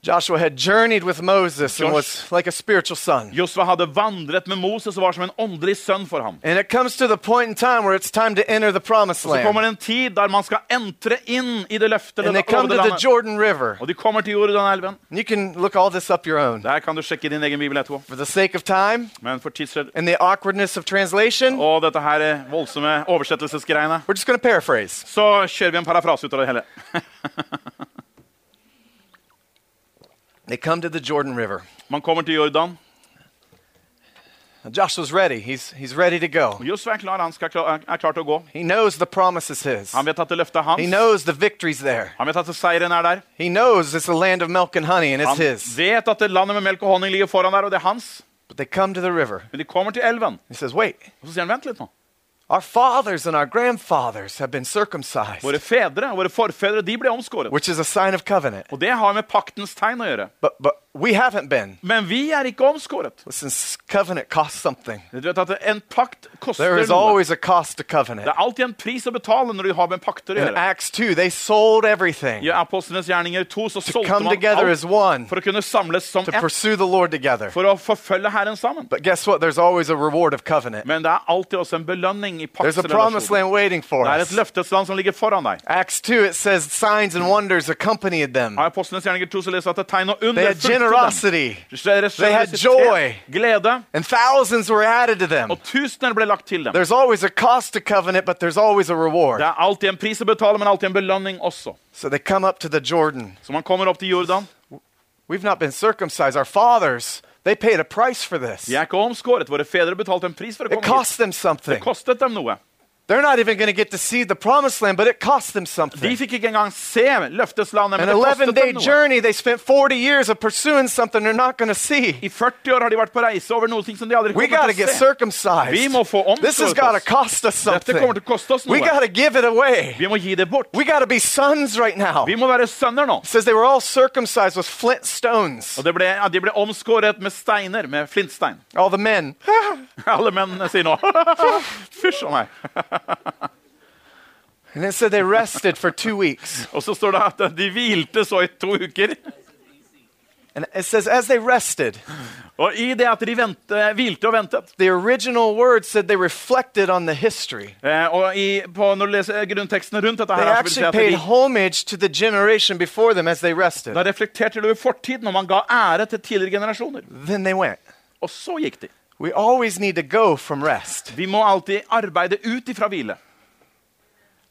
Joshua had journeyed with Moses and was
Josh-
like a spiritual son.
Josva hadde vandret med Moses og var som en åndelig sønn for ham.
And it comes to the point in time where it's time to enter the promised
Så kommer
land.
det en tid der man skal entre inn i det løftede
And they come to
lovede
the
landet.
Jordan River.
Og de kommer til Jordanelven.
And you can look all this up your own.
Der kan du sjekke din egen bibel etterpå.
For the sake of time
Men for tidsskyld
and the awkwardness of translation,
og dette her eh, voldsomme oversettelsesgreiene,
we're just going to paraphrase.
så kjører vi en parafrase ut av det hele.
They come to the Jordan River.
Man kommer til Jordan.
Now, Joshua's ready. He's, he's ready to go.
Josva er klar, han skal, kla- er klar til å gå.
He knows the promise is his.
Han vet at det løftet er
He
hans.
knows the victory's there.
Han vet at seieren er der.
He knows it's a land of milk and honey and it's
Han
his.
vet at det landet med melk og honning ligger foran der, og det er hans.
But they come to the river.
Men de kommer til elven.
He says, Wait,
Og så sier han, vent litt nå.
our fathers and our grandfathers have been circumcised,
Våre fedre, våre forfedre, de ble omskåret.
which is a sign of covenant.
Og det har med paktens tegn å gjøre.
But, but We haven't been.
Men vi er ikke omskåret.
Listen, s- covenant costs something.
Du vet at En pakt
There
koster
is
noe.
always a cost to
Det
covenant.
er alltid en pris å betale når du har med pakter å
In
gjøre.
Acts 2, they sold everything
I Apostlenes gjerninger 2 så
to
solgte
come
man
together as
alt
one,
for å kunne samles som
to
ett,
pursue the Lord together.
for å forfølge Herren sammen.
But guess what? There's always a reward of covenant.
Men det er alltid også en belønning i
There's a promised
paktsrelasjonen.
land waiting for
Det er
us.
et løftesland som ligger foran deg.
Acts 2, it says signs and wonders accompanied them.
I Apostlenes gjerninger 2 så leser at det er tegn og
They
under
had generosity,
Deres
They had
generositet,
joy.
glede,
and thousands were added to them.
og tusener ble lagt til dem.
There's always a cost to covenant, but there's always a reward.
Det er alltid en pris å betale, men alltid en belønning også.
So they come up to the Jordan.
Så man kommer opp til Jordan.
We've not been circumcised. Our fathers, they paid a price for this.
De er ikke omskåret. Våre fedre betalte en pris for å
It
komme hit.
cost them something.
Det kostet dem noe.
They're not even going to get to see the promised land, but it cost them
De
something.
fikk ikke engang se
An
løfteslandet, men det
11
kostet
day
dem noe.
journey, they spent 40 years of pursuing something they're not going to see.
I 40 år har de vært på reise over noe ting som de aldri
We got to
kommer til
get
å se.
circumcised.
Vi må få
This has
omskåret
got to
oss.
cost us
Dette
something.
kommer til å koste oss
We got
noe.
to give it away.
Vi må gi det bort.
We got to be sons right now.
Vi
It
må være sønner nå.
says they were all circumcised with flint stones.
Og det ble, ja, de ble omskåret med steiner, med flintstein. [LAUGHS]
All the men.
Alle mennene sier nå [LAUGHS] Fysj a meg.
And it said they rested for two weeks.
Og så står det at de hvilte så i to uker.
And it says, as they rested,
Og i det at de vente, hvilte og ventet
the original word said they reflected on the history.
eh, Og i, på, når du leser grunntekstene rundt dette
They
her, så vil du se
actually
at de,
paid homage to the generation before them as they rested.
da reflekterte du i fortiden, og man ga ære til tidligere generasjoner.
Then they went.
Og så gikk de.
We always need to go from rest.
Vi må alltid arbeide ut ifra hvile.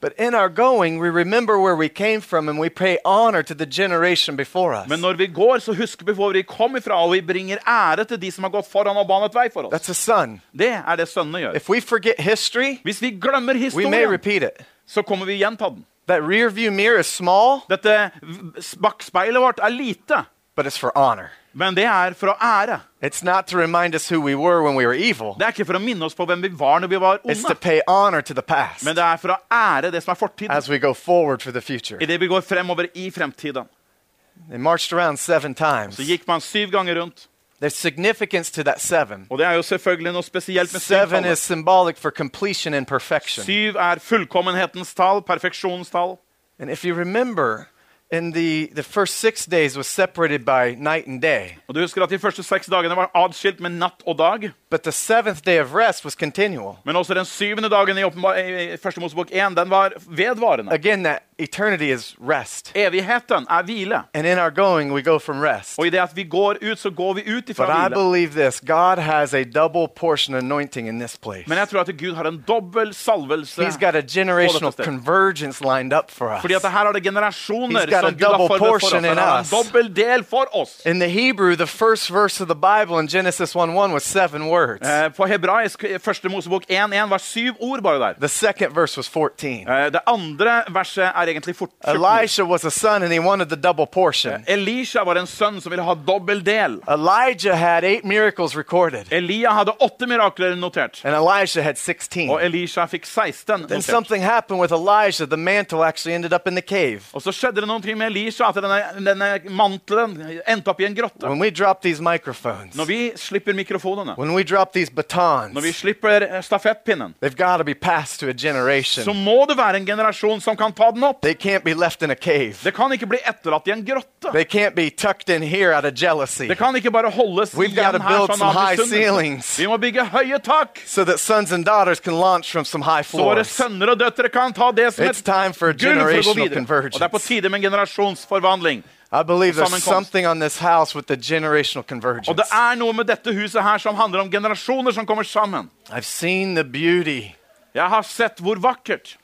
But in our going, we remember where we came from and we pay honor to the generation before us.
Men når vi går, så husker vi hvor vi kom ifra, og vi bringer ære til de som har gått foran og banet vei for oss.
That's a son.
Det er det sønnene gjør.
If we forget history,
Hvis vi glemmer
we may
historien,
repeat it.
så kommer vi igjen til den.
That rear view mirror is small,
Dette v- s- bakspeilet vårt er lite,
but it's for honor.
men det er for å ære.
It's not to remind us who we were when we were evil,
Det er ikke for å minne oss på hvem vi var når vi var
it's to
onde,
pay honor to the past
men det er for å ære det som er fortiden,
as we go forward for the future.
i det vi går fremover i fremtiden.
They marched around seven times.
Så gikk man syv ganger rundt,
There's significance to that seven.
og det er jo selvfølgelig noe spesielt med
Seven is
syvtallet.
symbolic for completion and perfection.
Syv er fullkommenhetens tall, perfeksjonens tall.
And if you remember, in the, the first six days was separated by night and day.
Og du husker at de første seks dagene var adskilt med natt og dag,
But the seventh day of rest was continual.
men også den syvende dagen i, åpenba- i i første Mosebok 1, den var vedvarende.
Again, that eternity is rest.
Evigheten er hvile.
And in our going, we go from rest.
Og i det at vi går ut, så går vi ut
But
ifra
I
hvile.
believe this God has a double portion anointing in this place.
Men jeg tror at Gud har en dobbel salvelse.
He's got a generational
stedet.
convergence lined up for us.
Fordi at her er det generasjoner
He's got a
som Gud har
double
forberedt for oss.
portion in
Han har en
us.
dobbel del for oss.
In the Hebrew, the first verse of the Bible in Genesis 1 1 was seven words.
Eh, På hebraisk, eh, første Mosebok 1.1, var syv ord bare der.
The second verse was 14.
Eh, Det andre verset er egentlig fort. 14 ord.
Elisha was a son and he wanted the double
Eh.
portion.
Elisha var en sønn som ville ha dobbel del.
Elijah had eight miracles recorded,
Elia hadde åtte mirakler notert,
and Elisha had
og
16.
Elisha fikk 16
Then
notert.
something happened with Elijah. The mantle actually ended up in the cave.
Og så skjedde det noe med Elisha, at denne, denne mantelen endte opp i en grotte.
When we drop these microphones,
Når vi slipper mikrofonene,
when we drop these
når vi
batons,
slipper eh, stafettpinnen,
they've got to be passed to a
så
generation.
må det være en generasjon som kan ta den opp.
They can't be left in a cave.
Det kan ikke bli etterlatt i en grotte.
They can't be tucked in here out of jealousy.
Det kan ikke bare holdes
We've gotta
igjen her
build
sånn
some
av
high ceilings.
misunnelse. Vi må bygge høye tak,
So that sons and daughters can launch from some high
så våre
floors.
sønner og døtre kan ta det som
It's
et
time for a
gulv for å gå
generational
videre. Og det er på
convergence.
tide med en generasjonsforvandling.
I believe there's
Sammenkomst.
something on this house with the generational
Og
convergence.
det er noe med dette huset her som handler om generasjoner som kommer sammen.
I've seen the beauty,
Jeg har sett hvor vakkert.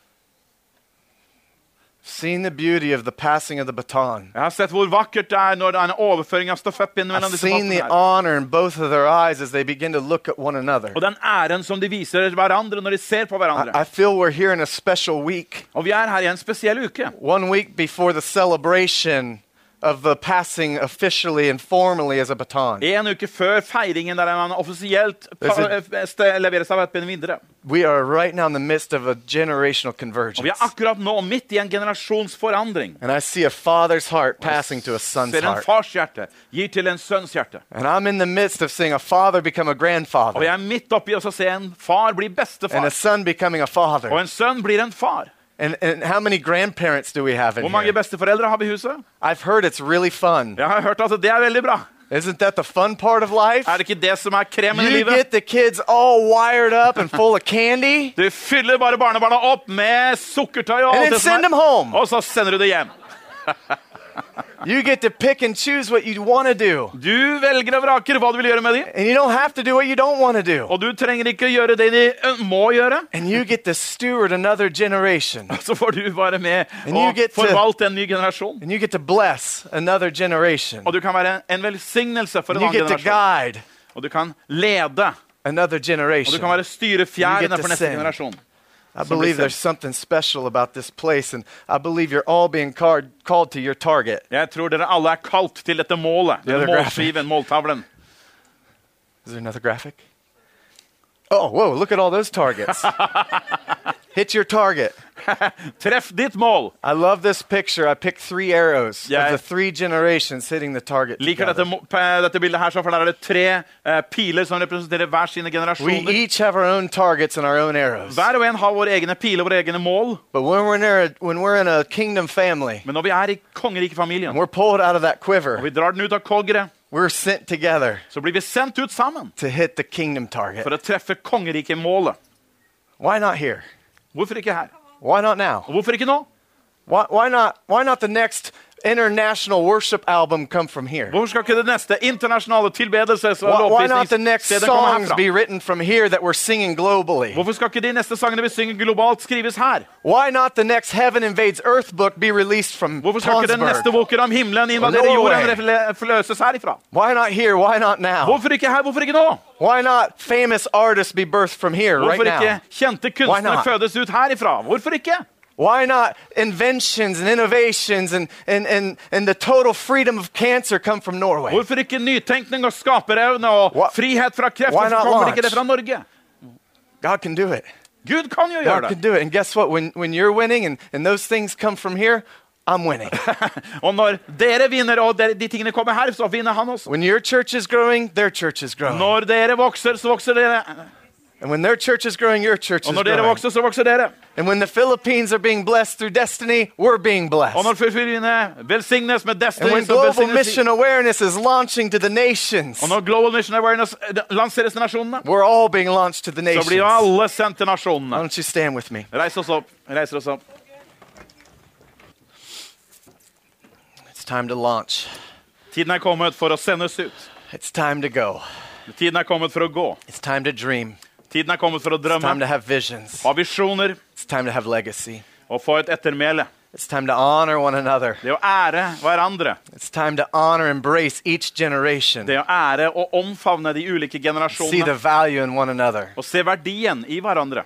seen the beauty of the passing of the baton.
Jeg har sett hvor vakkert det er når det er en overføring av stafettpinnen
I've
mellom disse
seen the
folkene her.
honor in both of their eyes as they begin to look at one another.
Og den æren som de viser hverandre når de ser
I,
på
I
hverandre.
feel we're here in a special week.
Og vi er her i en spesiell uke.
One week before the celebration of uh, passing officially and formally as a baton.
En uke før feiringen der man offisielt pa-
Listen.
eh, ste- leverer stafettpinnen videre.
We are right now in the midst of a generational
Og vi
convergence.
er akkurat nå midt i en generasjonsforandring.
And I see a father's heart passing to a son's
Ser en
heart.
fars hjerte gir til en sønns hjerte.
And I'm in the midst of seeing a father become a
Og jeg
grandfather
er midt oppi og så ser jeg en far bli
and
bestefar.
a son becoming a
Og
father.
en sønn blir en far.
And, and how many grandparents do we have in
Hvor mange
here?
besteforeldre har vi i huset?
I've heard it's really fun.
Jeg har hørt at det er veldig bra.
Isn't that the fun part of life?
Er det ikke det som er kremen i
You
livet?
get the kids all wired up and full of
[LAUGHS]
candy,
Du fyller bare barnebarna opp med sukkertøy
and
og alt
then
det som
send them
er.
home.
Og så sender du det hjem.
You get to pick and choose what you want to do.
Du velger og vraker hva du vil gjøre med dem.
And you don't have to do what you don't want to do.
Og du trenger ikke gjøre det de ø, må gjøre.
And you get to steward another generation.
Så får du være med
And you
og
get to-
forvalte en ny generasjon.
And you get to bless another generation.
Og du kan være en velsignelse for
And
en
you
annen
get to
generasjon.
guide
Og du kan lede.
another
Og du
generation.
kan være
You
styrefjærende
get to
for neste
send.
generasjon.
I believe there's something special about this place, and I believe you're all being card- called to your target.
Jeg tror dere alle er kalt til dette målet.
Ja,
Denne
det er greit.
målskiven, måltavlen.
Is there another graphic? Oh, whoa, look at all those [LAUGHS] targets. Hit your target.
Treff ditt mål!
I love this picture. I picked three arrows
Yeah.
of the three generations hitting the target.
Liker
together.
dette, mo- pe- dette bildet her, så for der er det tre eh, piler som representerer hver sine
We
generasjoner.
each have our own targets and our own arrows.
Hver og en har våre egne piler, våre egne mål.
But when we're, in a, when we're in a kingdom family,
Men når vi er i kongerikefamilien,
and we're pulled out of that quiver,
og vi drar den ut av kolgeret,
we're sent together
så blir vi sendt ut sammen
to hit the kingdom target.
for å treffe kongeriket-målet.
Why not here?
Hvorfor ikke her?
Why not now?
Og hvorfor ikke nå?
Why, why, not, why not the next international worship album come from here?
Hvorfor skal ikke det neste internasjonale tilbedelses- og
Why, why not the next
lovprisningsstedet komme
songs be
herfra?
written from here that we're singing globally?
Hvorfor skal ikke de neste sangene vi synger globalt, skrives her?
Why not the next Heaven Invades Earth book be released from
Hvorfor skal ikke den neste
Tonsberg?
boken om himmelen invadere
Norway.
jorden refle- forløses herifra?
Why not here? Why not now?
Hvorfor ikke her? Hvorfor ikke nå?
Why not famous artists be birthed from here right
Hvorfor ikke
now?
kjente
Why
kunstnere
not?
fødes ut herifra? Hvorfor ikke?
Why not inventions and innovations and, and, and, and the total freedom of cancer come from Norway?
Hvorfor ikke nytenkning og skaperevne og
Why-
frihet fra kreft?
Why
Hvorfor
not
kommer
launch?
ikke det fra Norge?
God can do it.
Gud kan jo
God
gjøre
can
det.
do it. And guess what? When, when you're winning and, and those things come from here, I'm winning. [LAUGHS]
Og når dere vinner, og dere, de tingene kommer her, så vinner han også.
when your church is growing, their church is growing.
Når dere vokser, så vokser dere.
And when their church is growing, your church
Og
is
når dere
growing.
vokser, så vokser dere.
And when the Philippines are being blessed through destiny, we're being
Og når
blessed.
Filippinene velsignes med
And
Destiny,
when
så
global
velsignes de.
mission awareness is launching to the nations,
Og når Global Mission Awareness eh, lanseres til nasjonene,
we're all being launched to the
så
nations.
blir
Why
alle sendt til nasjonene.
don't you stand with me?
Reis oss opp. Reiser oss opp.
It's time to launch.
Tiden er kommet for å sendes ut.
It's time to go.
Tiden er kommet for å gå.
It's time to dream.
Tiden er kommet for å
It's time to
drømme,
have visions.
ha visjoner
It's time to have legacy.
og få et ettermæle.
It's time to honor one another.
Det å ære hverandre,
It's time to honor, embrace each generation.
det å ære og omfavne de ulike
See the
generasjonene
value in one another.
og se verdien i hverandre.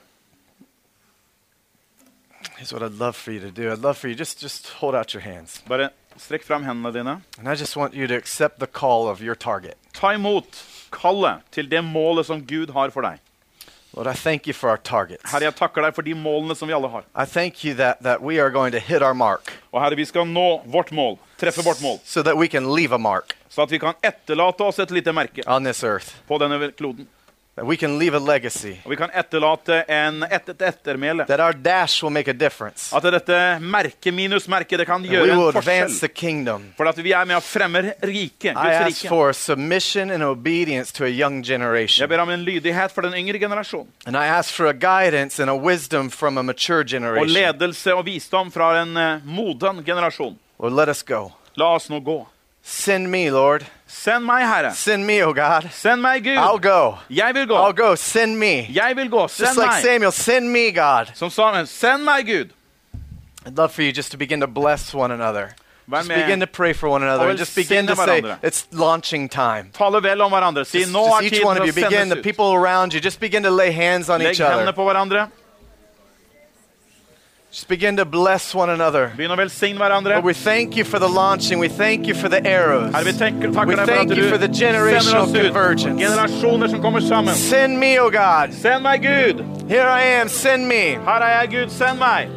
Here's what I'd love for you to do. I'd love for you just just hold out your hands.
Bare strekk fram hendene dine.
And I just want you to accept the call of your target.
Ta imot kallet til det målet som Gud har for deg.
Lord, I thank you for our targets.
Herre, jeg takker deg for de målene som vi alle har.
I thank you that, that we are going to hit our mark
Og herre, vi skal nå vårt mål, treffe vårt mål,
so that we can leave a mark
så at vi kan etterlate oss et lite merke
on this earth,
på denne kloden.
that we can leave a legacy,
Og vi kan etterlate en, et, et ettermæle.
that our dash will make a difference.
At dette merket minus merket, det kan
and we
gjøre
will
en
advance
forskjell.
the kingdom.
For at vi er med og fremmer riket,
I
Guds
ask
rike.
for submission and obedience to a young
Jeg
generation.
ber om en lydighet for den yngre generasjonen.
And I ask for a guidance and a wisdom from a mature
Og
generation.
ledelse og visdom fra en eh, moden generasjon.
Lord, let us go.
La oss nå gå.
Send me, Lord.
Send meg, Herre.
Send me, oh God.
Send meg,
I'll
Gud.
go.
Jeg vil gå.
I'll go. Send me.
Jeg vil gå.
Just
Send
like
meg.
Samuel, send me, God.
Som Samuel. Send meg, Gud.
I'd love for you just to begin to bless one another.
Vær
Just
med.
begin to pray for one another.
Og
And just begin to
velsigne
say,
hverandre.
it's launching time.
Tale vel om hverandre. Si
Just,
nå
just
er
each
tiden
one
for
of you
å
begin, the
sendes ut.
people around you, just begin to lay hands on
Legg
each
hendene
other.
på hverandre.
Just begin to bless one another.
Begynn å velsigne hverandre.
Lord, we thank you for the launching. We thank you for the arrows.
Herre, vi tenker, takker
We
deg for
thank
at du
you for the
sender
generational
oss ut.
convergence.
Generasjoner som kommer sammen.
Send me, O God.
Send meg, Gud!
Here I am. Send me.
Her er jeg, Gud. Send meg!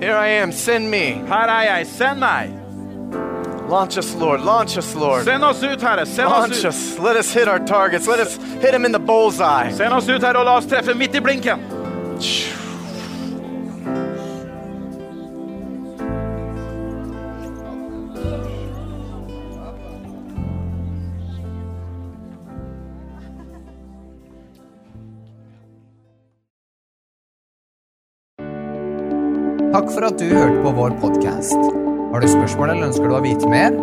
Here I am. Send me.
Her er jeg. Send meg!
Launch us, Lord. Launch us, Lord.
Send oss ut, Herre. Send
Launch
oss ut.
us. Let us hit our targets. Let us hit them in the bullseye.
Send oss ut, Herre, og la oss treffe midt i blinken.
Takk for at du hørte på vår podkast. Har du spørsmål eller ønsker du å vite mer?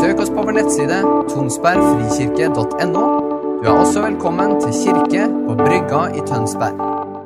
Søk oss på vår nettside tonsbergfrikirke.no. Du er også velkommen til kirke på Brygga i Tønsberg.